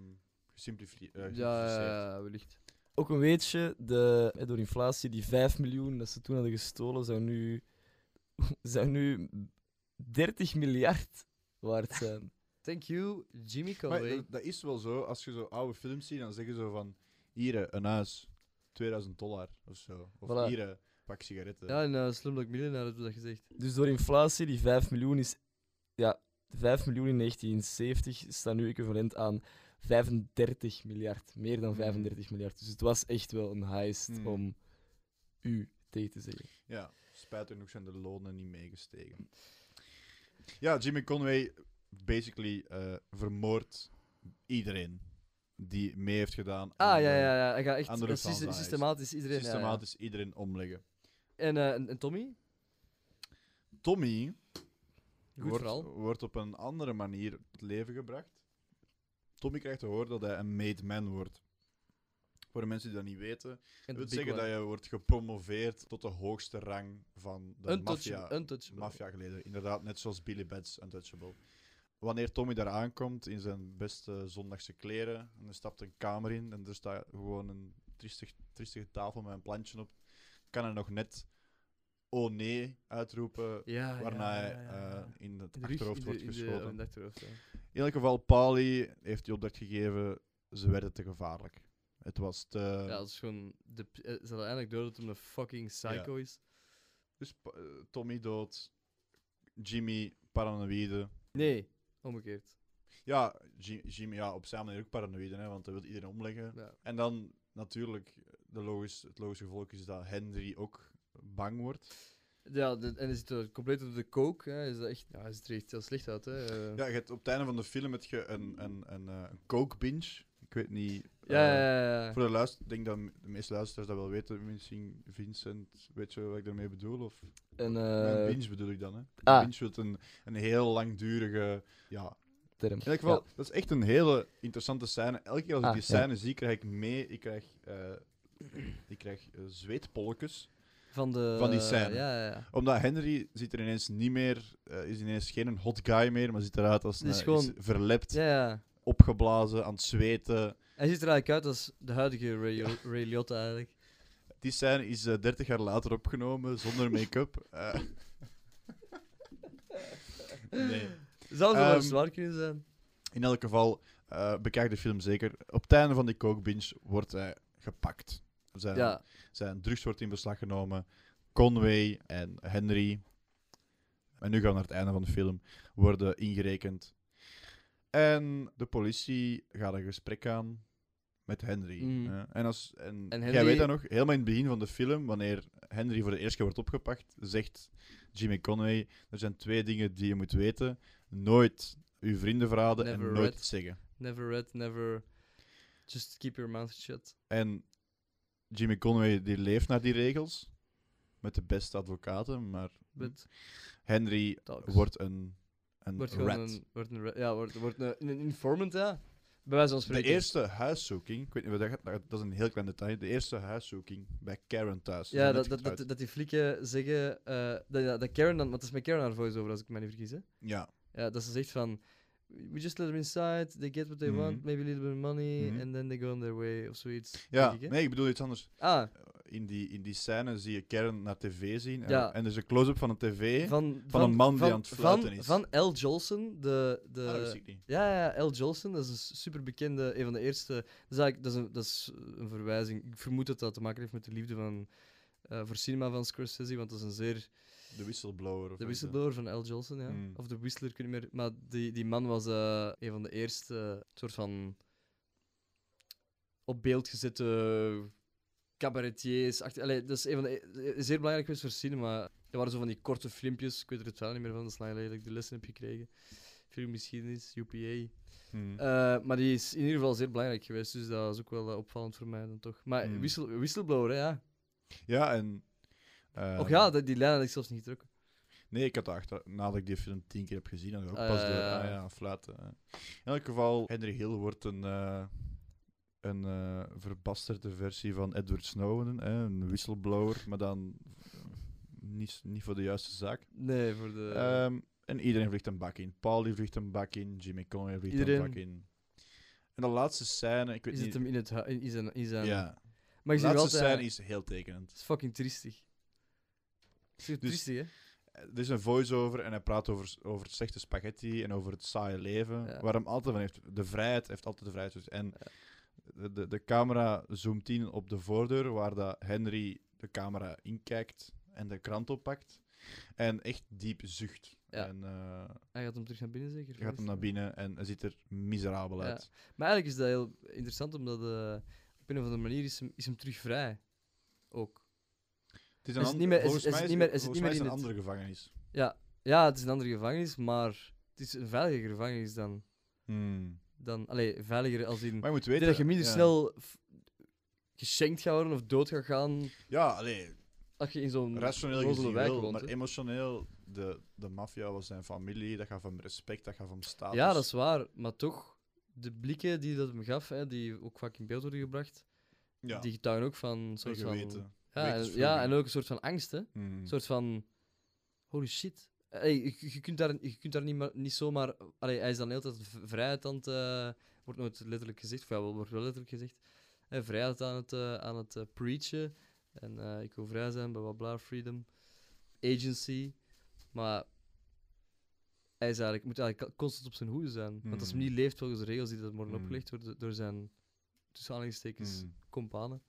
[SPEAKER 1] gesimplifi- eh, gesimplificeerd.
[SPEAKER 2] Ja, ja, ja, wellicht.
[SPEAKER 3] Ook een weetje, de, eh, door inflatie, die 5 miljoen dat ze toen hadden gestolen, zou nu, zou nu 30 miljard waard zijn.
[SPEAKER 2] Thank you, Jimmy
[SPEAKER 1] Maar
[SPEAKER 2] Conway.
[SPEAKER 1] dat, dat is wel zo, als je zo oude films ziet, dan zeggen ze zo van... Hier, eh, een huis, 2000 dollar of zo. Of
[SPEAKER 3] Voilà.
[SPEAKER 1] hier, eh, pak sigaretten.
[SPEAKER 2] Ja, en eh Slumdog Millionaire hebben we dat gezegd.
[SPEAKER 3] Dus door inflatie, die 5 miljoen is. Ja, 5 miljoen in 1970 staat nu equivalent aan 35 miljard. Meer dan
[SPEAKER 2] Hmm.
[SPEAKER 1] Mhm.
[SPEAKER 3] 35 miljard. Dus het was echt wel een heist
[SPEAKER 1] Hmm.
[SPEAKER 3] om u tegen te zeggen.
[SPEAKER 1] Ja, spijtig genoeg zijn de lonen niet meegestegen. Ja, Jimmy Conway basically eh, vermoordt iedereen die mee heeft gedaan
[SPEAKER 2] Ah,
[SPEAKER 1] aan
[SPEAKER 2] ja,
[SPEAKER 1] de-
[SPEAKER 2] ja, ja. Hij gaat echt
[SPEAKER 1] aan de
[SPEAKER 2] eh,
[SPEAKER 1] Lufthansa
[SPEAKER 2] syste-
[SPEAKER 1] heist.
[SPEAKER 2] systematisch iedereen... ja, ja.
[SPEAKER 1] systematisch iedereen omleggen.
[SPEAKER 2] En, eh, en, en Tommy?
[SPEAKER 1] Tommy
[SPEAKER 2] Goed
[SPEAKER 1] wordt,
[SPEAKER 2] vooral.
[SPEAKER 1] Dus wordt op een andere manier het leven gebracht. Tommy krijgt te horen dat hij een made man wordt. Voor de mensen die dat niet weten,
[SPEAKER 2] En
[SPEAKER 1] dat wil
[SPEAKER 2] de big
[SPEAKER 1] zeggen dat
[SPEAKER 2] one.
[SPEAKER 1] je wordt gepromoveerd tot de hoogste rang van de maffia.
[SPEAKER 2] Untouchable. untouchable.
[SPEAKER 1] Mafia-geleden, inderdaad, net zoals Billy Bats Untouchable. Wanneer Tommy daar aankomt in zijn beste zondagse kleren, en er stapt een kamer in en er staat gewoon een triestig, triestige tafel met een plantje op, kan hij nog net oh nee uitroepen,
[SPEAKER 2] Ja,
[SPEAKER 1] waarna
[SPEAKER 2] Ah, ja,
[SPEAKER 1] hij
[SPEAKER 2] ja, ja, ja.
[SPEAKER 1] eh, in het
[SPEAKER 2] In de rug,
[SPEAKER 1] achterhoofd
[SPEAKER 2] in de-
[SPEAKER 1] wordt
[SPEAKER 2] in de-
[SPEAKER 1] geschoten.
[SPEAKER 2] oh, in het achterhoofd, ja.
[SPEAKER 1] In elk geval, Pali heeft die opdracht gegeven, ze werden te gevaarlijk. Het was te...
[SPEAKER 2] Ja, dat is gewoon... De, eh, ze hadden eigenlijk door dat hem een fucking psycho is.
[SPEAKER 1] Dus pa- eh, Tommy dood, Jimmy paranoïde,
[SPEAKER 2] Nee, omgekeerd.
[SPEAKER 1] Ja, Ji- Jimmy ja, op zijn manier ook paranoïde, hè, want hij wil iedereen omleggen.
[SPEAKER 2] Ja.
[SPEAKER 1] En dan natuurlijk, de logisch, het logische gevolg is dat Henry ook bang wordt.
[SPEAKER 2] Ja, de- en hij zit er compleet op de coke. Hè. Is dat echt, ja, hij ziet er echt heel slecht uit. Hè. Eh,
[SPEAKER 1] Ja, je hebt op het einde van de film heb je een, een, een, eh, een coke binge. Ik weet niet.
[SPEAKER 2] ja,
[SPEAKER 1] eh,
[SPEAKER 2] ja, ja, ja.
[SPEAKER 1] Voor de luister, ik denk dat de meeste luisteraars dat wel weten. Misschien Vincent, weet je wat ik daarmee bedoel? Of
[SPEAKER 3] Een
[SPEAKER 1] een
[SPEAKER 3] eh,
[SPEAKER 1] binge bedoel ik dan, hè?
[SPEAKER 3] ah.
[SPEAKER 1] Binge wordt een, een heel langdurige. Ja,
[SPEAKER 3] term.
[SPEAKER 1] In elk geval, dat is echt een hele interessante scène. Elke keer als ik
[SPEAKER 3] Ah,
[SPEAKER 1] die
[SPEAKER 3] ja.
[SPEAKER 1] scène zie, krijg ik mee. Ik krijg, eh, ik krijg eh, zweetpolkjes.
[SPEAKER 2] Van, de,
[SPEAKER 1] van die scène.
[SPEAKER 2] Ja, ja, ja.
[SPEAKER 1] Omdat Henry ziet er ineens niet meer, eh, is ineens geen een hot guy meer, maar ziet eruit als
[SPEAKER 2] Die
[SPEAKER 1] een,
[SPEAKER 2] is gewoon-
[SPEAKER 1] is verlept,
[SPEAKER 2] ja, ja.
[SPEAKER 1] opgeblazen, aan het zweten.
[SPEAKER 2] Hij ziet er eigenlijk uit als de huidige Ray, Ray Liotta eigenlijk.
[SPEAKER 1] Die scène is eh, 30 jaar later opgenomen, zonder make-up. Eh. nee.
[SPEAKER 2] Zou zo wel
[SPEAKER 1] Ehm,
[SPEAKER 2] eens waar kunnen zijn?
[SPEAKER 1] In elk geval, eh bekijk de film zeker. Op het einde van die coke binge wordt hij gepakt. Zijn,
[SPEAKER 2] ja,
[SPEAKER 1] Zijn drugs wordt in beslag genomen. Conway en Henry. En nu gaan we naar het einde van de film. Worden ingerekend. En de politie gaat een gesprek aan met Henry.
[SPEAKER 2] Mm.
[SPEAKER 1] hè. En, als, en,
[SPEAKER 2] En
[SPEAKER 1] jij
[SPEAKER 2] Henry-
[SPEAKER 1] weet dat nog, helemaal in het begin van de film, wanneer Henry voor de eerste keer wordt opgepakt, zegt Jimmy Conway: Er zijn twee dingen die je moet weten. Nooit uw vrienden verraden en
[SPEAKER 2] Never
[SPEAKER 1] nooit
[SPEAKER 2] read.
[SPEAKER 1] iets zeggen.
[SPEAKER 2] never read, never... Just keep your mouth shut.
[SPEAKER 1] En Jimmy Conway die leeft naar die regels. Met de beste advocaten, maar
[SPEAKER 2] But
[SPEAKER 1] Henry
[SPEAKER 2] talks.
[SPEAKER 1] Hm. wordt een, een
[SPEAKER 2] Wordt gewoon
[SPEAKER 1] rat.
[SPEAKER 2] een... Wordt een rat- ja, wordt, wordt een, een informant, ja. Bij wijze van
[SPEAKER 1] De
[SPEAKER 2] spreken.
[SPEAKER 1] eerste huiszoeking, ik weet niet wat dat gaat, dat is een heel klein detail. De eerste huiszoeking bij Karen thuis. Ze
[SPEAKER 2] Ja,
[SPEAKER 1] zijn
[SPEAKER 2] dat,
[SPEAKER 1] net
[SPEAKER 2] dat, dat,
[SPEAKER 1] getrouwd.
[SPEAKER 2] dat die flikken zeggen... eh, dat, ja, dat Karen dan... Want dat is met Karen haar voice-over, als ik me niet vergis, hè.
[SPEAKER 1] Ja,
[SPEAKER 2] Ja, dat ze zegt van... We just let them inside, they get what they want,
[SPEAKER 1] Mhm.
[SPEAKER 2] maybe a little bit of money,
[SPEAKER 1] Mhm.
[SPEAKER 2] and then they go on their way of zoiets.
[SPEAKER 1] Ja,
[SPEAKER 2] denk ik, hè?
[SPEAKER 1] nee, ik bedoel iets anders. Eh,
[SPEAKER 2] Ah,
[SPEAKER 1] In die, in die scène zie je Kern naar tv zien. En,
[SPEAKER 2] Ja.
[SPEAKER 1] en er is een close-up van een tv.
[SPEAKER 2] van,
[SPEAKER 1] een man die aan het fluiten
[SPEAKER 2] van,
[SPEAKER 1] is.
[SPEAKER 2] Van L. Jolson, de. de
[SPEAKER 1] Ah, dat wist ik niet.
[SPEAKER 2] Ja, ja, L. Jolson, dat is een superbekende, een van de eerste. Dat is, eigenlijk- dat is, een, dat is een verwijzing. Ik vermoed dat dat te maken heeft met de liefde van, eh, voor cinema van Scorsese, want dat is een zeer.
[SPEAKER 1] De whistleblower. Of
[SPEAKER 2] De
[SPEAKER 1] iets, hè.
[SPEAKER 2] whistleblower van L. Jolson, ja.
[SPEAKER 1] Hmm.
[SPEAKER 2] Of de whistler, ik weet niet meer. Maar die, die man was eh, een van de eerste eh, soort van op beeld gezette cabaretiers. achter- Allee, dat is een van de, e- zeer belangrijk geweest voor cinema. Er waren zo van die korte filmpjes, ik weet er het verhaal niet meer van, dat is lang geleden dat ik de lessen heb gekregen. Filmgeschiedenis, UPA.
[SPEAKER 1] Mhm.
[SPEAKER 2] Eh, maar die is in ieder geval zeer belangrijk geweest, dus dat is ook wel eh, opvallend voor mij dan toch. Maar
[SPEAKER 1] Hmm.
[SPEAKER 2] whistle, whistleblower, hè, ja.
[SPEAKER 1] Ja, en...
[SPEAKER 2] Och
[SPEAKER 1] ehm,
[SPEAKER 2] ja, dat- die lijn had ik zelfs niet getrokken.
[SPEAKER 1] Nee, ik had achter, nadat ik die film tien keer heb gezien, had ik ook
[SPEAKER 2] Ah,
[SPEAKER 1] pas
[SPEAKER 2] ja,
[SPEAKER 1] de
[SPEAKER 2] ja,
[SPEAKER 1] ah,
[SPEAKER 2] ja.
[SPEAKER 1] ja, fluiten. hè. In elk geval, Henry Hill wordt een, eh, een eh, verbasterde versie van Edward Snowden, hè, een whistleblower, maar dan niet, s- niet voor de juiste zaak.
[SPEAKER 2] Nee, voor de...
[SPEAKER 1] Ehm, en iedereen vliegt een bak in. Paul die vliegt een bak in, Jimmy Conway vliegt
[SPEAKER 2] Iedereen-
[SPEAKER 1] een bak in. En de laatste scène, ik weet
[SPEAKER 2] is het
[SPEAKER 1] niet...
[SPEAKER 2] hem in het hu- in in zijn... In zijn
[SPEAKER 1] ja,
[SPEAKER 2] Maar
[SPEAKER 1] de
[SPEAKER 2] ik zie wel
[SPEAKER 1] laatste
[SPEAKER 2] altijd...
[SPEAKER 1] scène
[SPEAKER 2] Het
[SPEAKER 1] is heel tekenend.
[SPEAKER 2] is fucking triestig. Het is echt
[SPEAKER 1] Dus-
[SPEAKER 2] triestig, hè?
[SPEAKER 1] Er is een voice-over en hij praat over, over het slechte spaghetti en over het saaie leven.
[SPEAKER 2] Ja.
[SPEAKER 1] Waar hem altijd van heeft. De vrijheid heeft altijd de vrijheid. Dus- En de, de, de camera zoomt in op de voordeur waar dat Henry de camera inkijkt en de krant oppakt. En echt diep zucht.
[SPEAKER 2] Ja.
[SPEAKER 1] En eh,
[SPEAKER 2] Hij gaat hem terug naar binnen, zeker?
[SPEAKER 1] je gaat hem naar binnen en hij ziet er miserabel
[SPEAKER 2] Ja.
[SPEAKER 1] uit.
[SPEAKER 2] Maar eigenlijk is dat heel interessant, omdat eh, op een of andere manier is hem, is hem terug vrij. Ook.
[SPEAKER 1] Het
[SPEAKER 2] Is het
[SPEAKER 1] an-
[SPEAKER 2] niet meer- is-
[SPEAKER 1] volgens
[SPEAKER 2] is
[SPEAKER 1] mij
[SPEAKER 2] het niet meer- is het
[SPEAKER 1] volgens
[SPEAKER 2] niet
[SPEAKER 1] mij
[SPEAKER 2] meer
[SPEAKER 1] een
[SPEAKER 2] in het-
[SPEAKER 1] andere gevangenis.
[SPEAKER 2] Ja. ja, het is een andere gevangenis, maar het is een veiliger gevangenis dan...
[SPEAKER 1] Hmm.
[SPEAKER 2] dan allee, veiliger als in...
[SPEAKER 1] Maar je moet
[SPEAKER 2] Ik
[SPEAKER 1] weten...
[SPEAKER 2] denk dat je minder
[SPEAKER 1] ja.
[SPEAKER 2] snel f- geschenkt gaat worden of dood gaat gaan
[SPEAKER 1] Ja, allee,
[SPEAKER 2] als je in zo'n
[SPEAKER 1] Rationeel
[SPEAKER 2] onnozele
[SPEAKER 1] gezien
[SPEAKER 2] wijk
[SPEAKER 1] wel,
[SPEAKER 2] woont,
[SPEAKER 1] maar
[SPEAKER 2] hè.
[SPEAKER 1] emotioneel, de, de maffia was zijn familie, dat gaat van respect, dat gaat van status.
[SPEAKER 2] Ja, dat is waar, maar toch, de blikken die dat hem gaf, hè, die ook vaak in beeld worden gebracht,
[SPEAKER 1] ja,
[SPEAKER 2] die getuigen ook van een soort
[SPEAKER 1] een
[SPEAKER 2] van...
[SPEAKER 1] geweten.
[SPEAKER 2] Ja, en,
[SPEAKER 1] wetensvroeging.
[SPEAKER 2] ja, en ook een soort van angst, hè. Een
[SPEAKER 1] Hmm.
[SPEAKER 2] soort van... Holy shit. Hey, je, je kunt daar, je kunt daar niet, maar, niet zomaar... Allee, hij is dan de hele tijd v- vrijheid aan het... eh, wordt nooit letterlijk gezegd, of ja, wel, wordt wel letterlijk gezegd. Hè, vrijheid aan het, eh, aan het eh, preachen. En eh, ik wil vrij zijn, bla bla bla, freedom. Agency. Maar... Hij is eigenlijk, moet eigenlijk co- constant op zijn hoede zijn. Want als hij
[SPEAKER 1] Mhm.
[SPEAKER 2] niet leeft volgens de regels die dat worden
[SPEAKER 1] Mhm.
[SPEAKER 2] opgelegd worden door zijn... Tussen aanhalingstekens,
[SPEAKER 1] Hmm.
[SPEAKER 2] companen.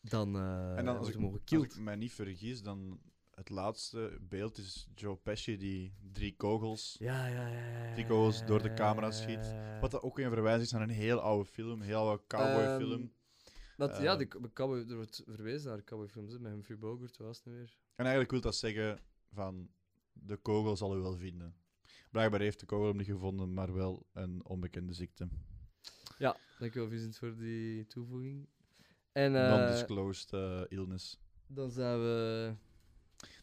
[SPEAKER 2] Dan, eh
[SPEAKER 1] En dan als
[SPEAKER 2] wordt
[SPEAKER 1] ik,
[SPEAKER 2] hij mogen
[SPEAKER 1] als
[SPEAKER 2] gekild.
[SPEAKER 1] ik mij niet vergis, dan het laatste beeld is Joe Pesci die drie kogels...
[SPEAKER 2] Ja, ja, ja. ja, ja,
[SPEAKER 1] Die kogels
[SPEAKER 2] ja,
[SPEAKER 1] door de
[SPEAKER 2] ja,
[SPEAKER 1] camera
[SPEAKER 2] ja,
[SPEAKER 1] schiet.
[SPEAKER 2] ja, ja.
[SPEAKER 1] Wat dat ook weer een verwijzing is naar een heel oude film, een heel oude cowboyfilm.
[SPEAKER 2] Ehm, Dat,
[SPEAKER 1] Ehm.
[SPEAKER 2] ja, de, de cowboy, er wordt verwezen naar cowboyfilms hè, met Humphrey Bogart, was het nu weer?
[SPEAKER 1] En eigenlijk wil dat zeggen van, de kogel zal u wel vinden. Blijkbaar heeft de kogel hem niet gevonden, maar wel een onbekende ziekte.
[SPEAKER 2] Ja, dankjewel Vincent voor die toevoeging. En eh,
[SPEAKER 1] Non-disclosed eh, illness.
[SPEAKER 2] dan zijn we,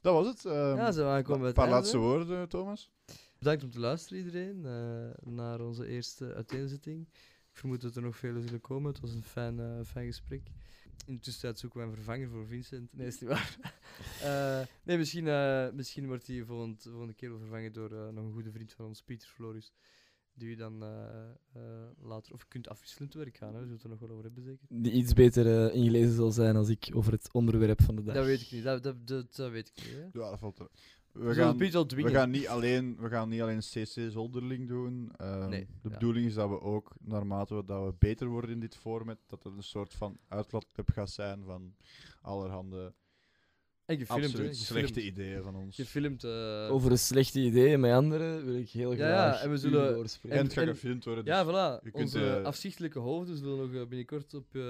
[SPEAKER 1] Dat was het. ehm,
[SPEAKER 2] ja, zijn we aangekomen bij
[SPEAKER 1] Een
[SPEAKER 2] het
[SPEAKER 1] paar
[SPEAKER 2] einde.
[SPEAKER 1] laatste woorden, Thomas.
[SPEAKER 2] Bedankt om te luisteren iedereen, eh, naar onze eerste uiteenzetting. Ik vermoed dat er nog vele zullen komen, het was een fijn, eh, fijn gesprek. In de tussentijd zoeken we een vervanger voor Vincent. Nee, is niet waar. Eh, nee, misschien, eh, misschien wordt hij volgend, volgende keer wel vervangen door eh, nog een goede vriend van ons, Pieter Floris. Die u dan eh, eh, later, of je kunt afwisselend te werk gaan, hè. we zullen het er nog wel over hebben zeker.
[SPEAKER 3] Die iets beter eh, ingelezen zal zijn als ik over het onderwerp van de dag.
[SPEAKER 2] Dat weet ik niet, dat, dat, dat, dat weet ik niet. Hè.
[SPEAKER 1] Ja, dat valt er.
[SPEAKER 2] We
[SPEAKER 1] We
[SPEAKER 2] gaan,
[SPEAKER 1] gaan,
[SPEAKER 2] Pieter wel
[SPEAKER 1] we
[SPEAKER 2] dwingen.
[SPEAKER 1] gaan niet alleen, we gaan niet alleen CC zonderling doen. Ehm,
[SPEAKER 2] Nee,
[SPEAKER 1] de
[SPEAKER 2] ja.
[SPEAKER 1] bedoeling is dat we ook, naarmate we, dat we beter worden in dit format, dat het een soort van uitlaatklep gaat zijn van allerhande
[SPEAKER 2] en gefilmd, hè,
[SPEAKER 1] absoluut
[SPEAKER 2] gefilmd.
[SPEAKER 1] slechte ideeën van ons.
[SPEAKER 2] Gefilmd. eh,
[SPEAKER 3] Over de slechte ideeën met anderen wil ik heel
[SPEAKER 2] Ja,
[SPEAKER 3] graag
[SPEAKER 2] ja, en we zullen-
[SPEAKER 3] u
[SPEAKER 1] En,
[SPEAKER 3] horen
[SPEAKER 2] en-
[SPEAKER 1] het gaat
[SPEAKER 2] en-
[SPEAKER 1] gefilmd worden. Dus
[SPEAKER 2] Ja, voilà.
[SPEAKER 1] je kunt,
[SPEAKER 2] Onze
[SPEAKER 1] eh,
[SPEAKER 2] afzichtelijke hoofden zullen nog eh, binnenkort op eh,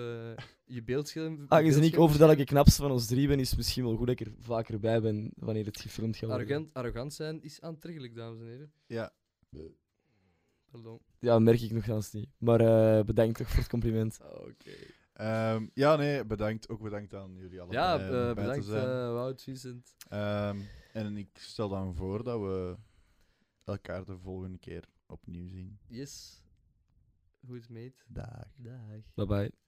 [SPEAKER 2] je
[SPEAKER 3] Ah,
[SPEAKER 2] beeldscherm.
[SPEAKER 3] Aangezien ik
[SPEAKER 2] beeldscherm
[SPEAKER 3] over dat ik de knapste van ons drie ben, is het misschien wel goed dat ik er vaker bij ben wanneer het gefilmd gaat worden.
[SPEAKER 2] Arrogant, arrogant zijn is aantrekkelijk, dames en heren.
[SPEAKER 1] ja.
[SPEAKER 2] Pardon.
[SPEAKER 3] Ja, merk ik nog nogthans niet. Maar eh, bedankt toch voor het compliment.
[SPEAKER 2] Oké.
[SPEAKER 1] Ehm, ja, nee, bedankt. Ook bedankt aan jullie allemaal.
[SPEAKER 2] Ja,
[SPEAKER 1] om
[SPEAKER 2] eh,
[SPEAKER 1] bij
[SPEAKER 2] bedankt
[SPEAKER 1] te zijn.
[SPEAKER 2] eh, Wout, Vincent.
[SPEAKER 1] Ehm, en ik stel dan voor dat we elkaar de volgende keer opnieuw zien.
[SPEAKER 2] Yes. Goed, meet.
[SPEAKER 1] Dag.
[SPEAKER 2] Dag.
[SPEAKER 3] Bye bye.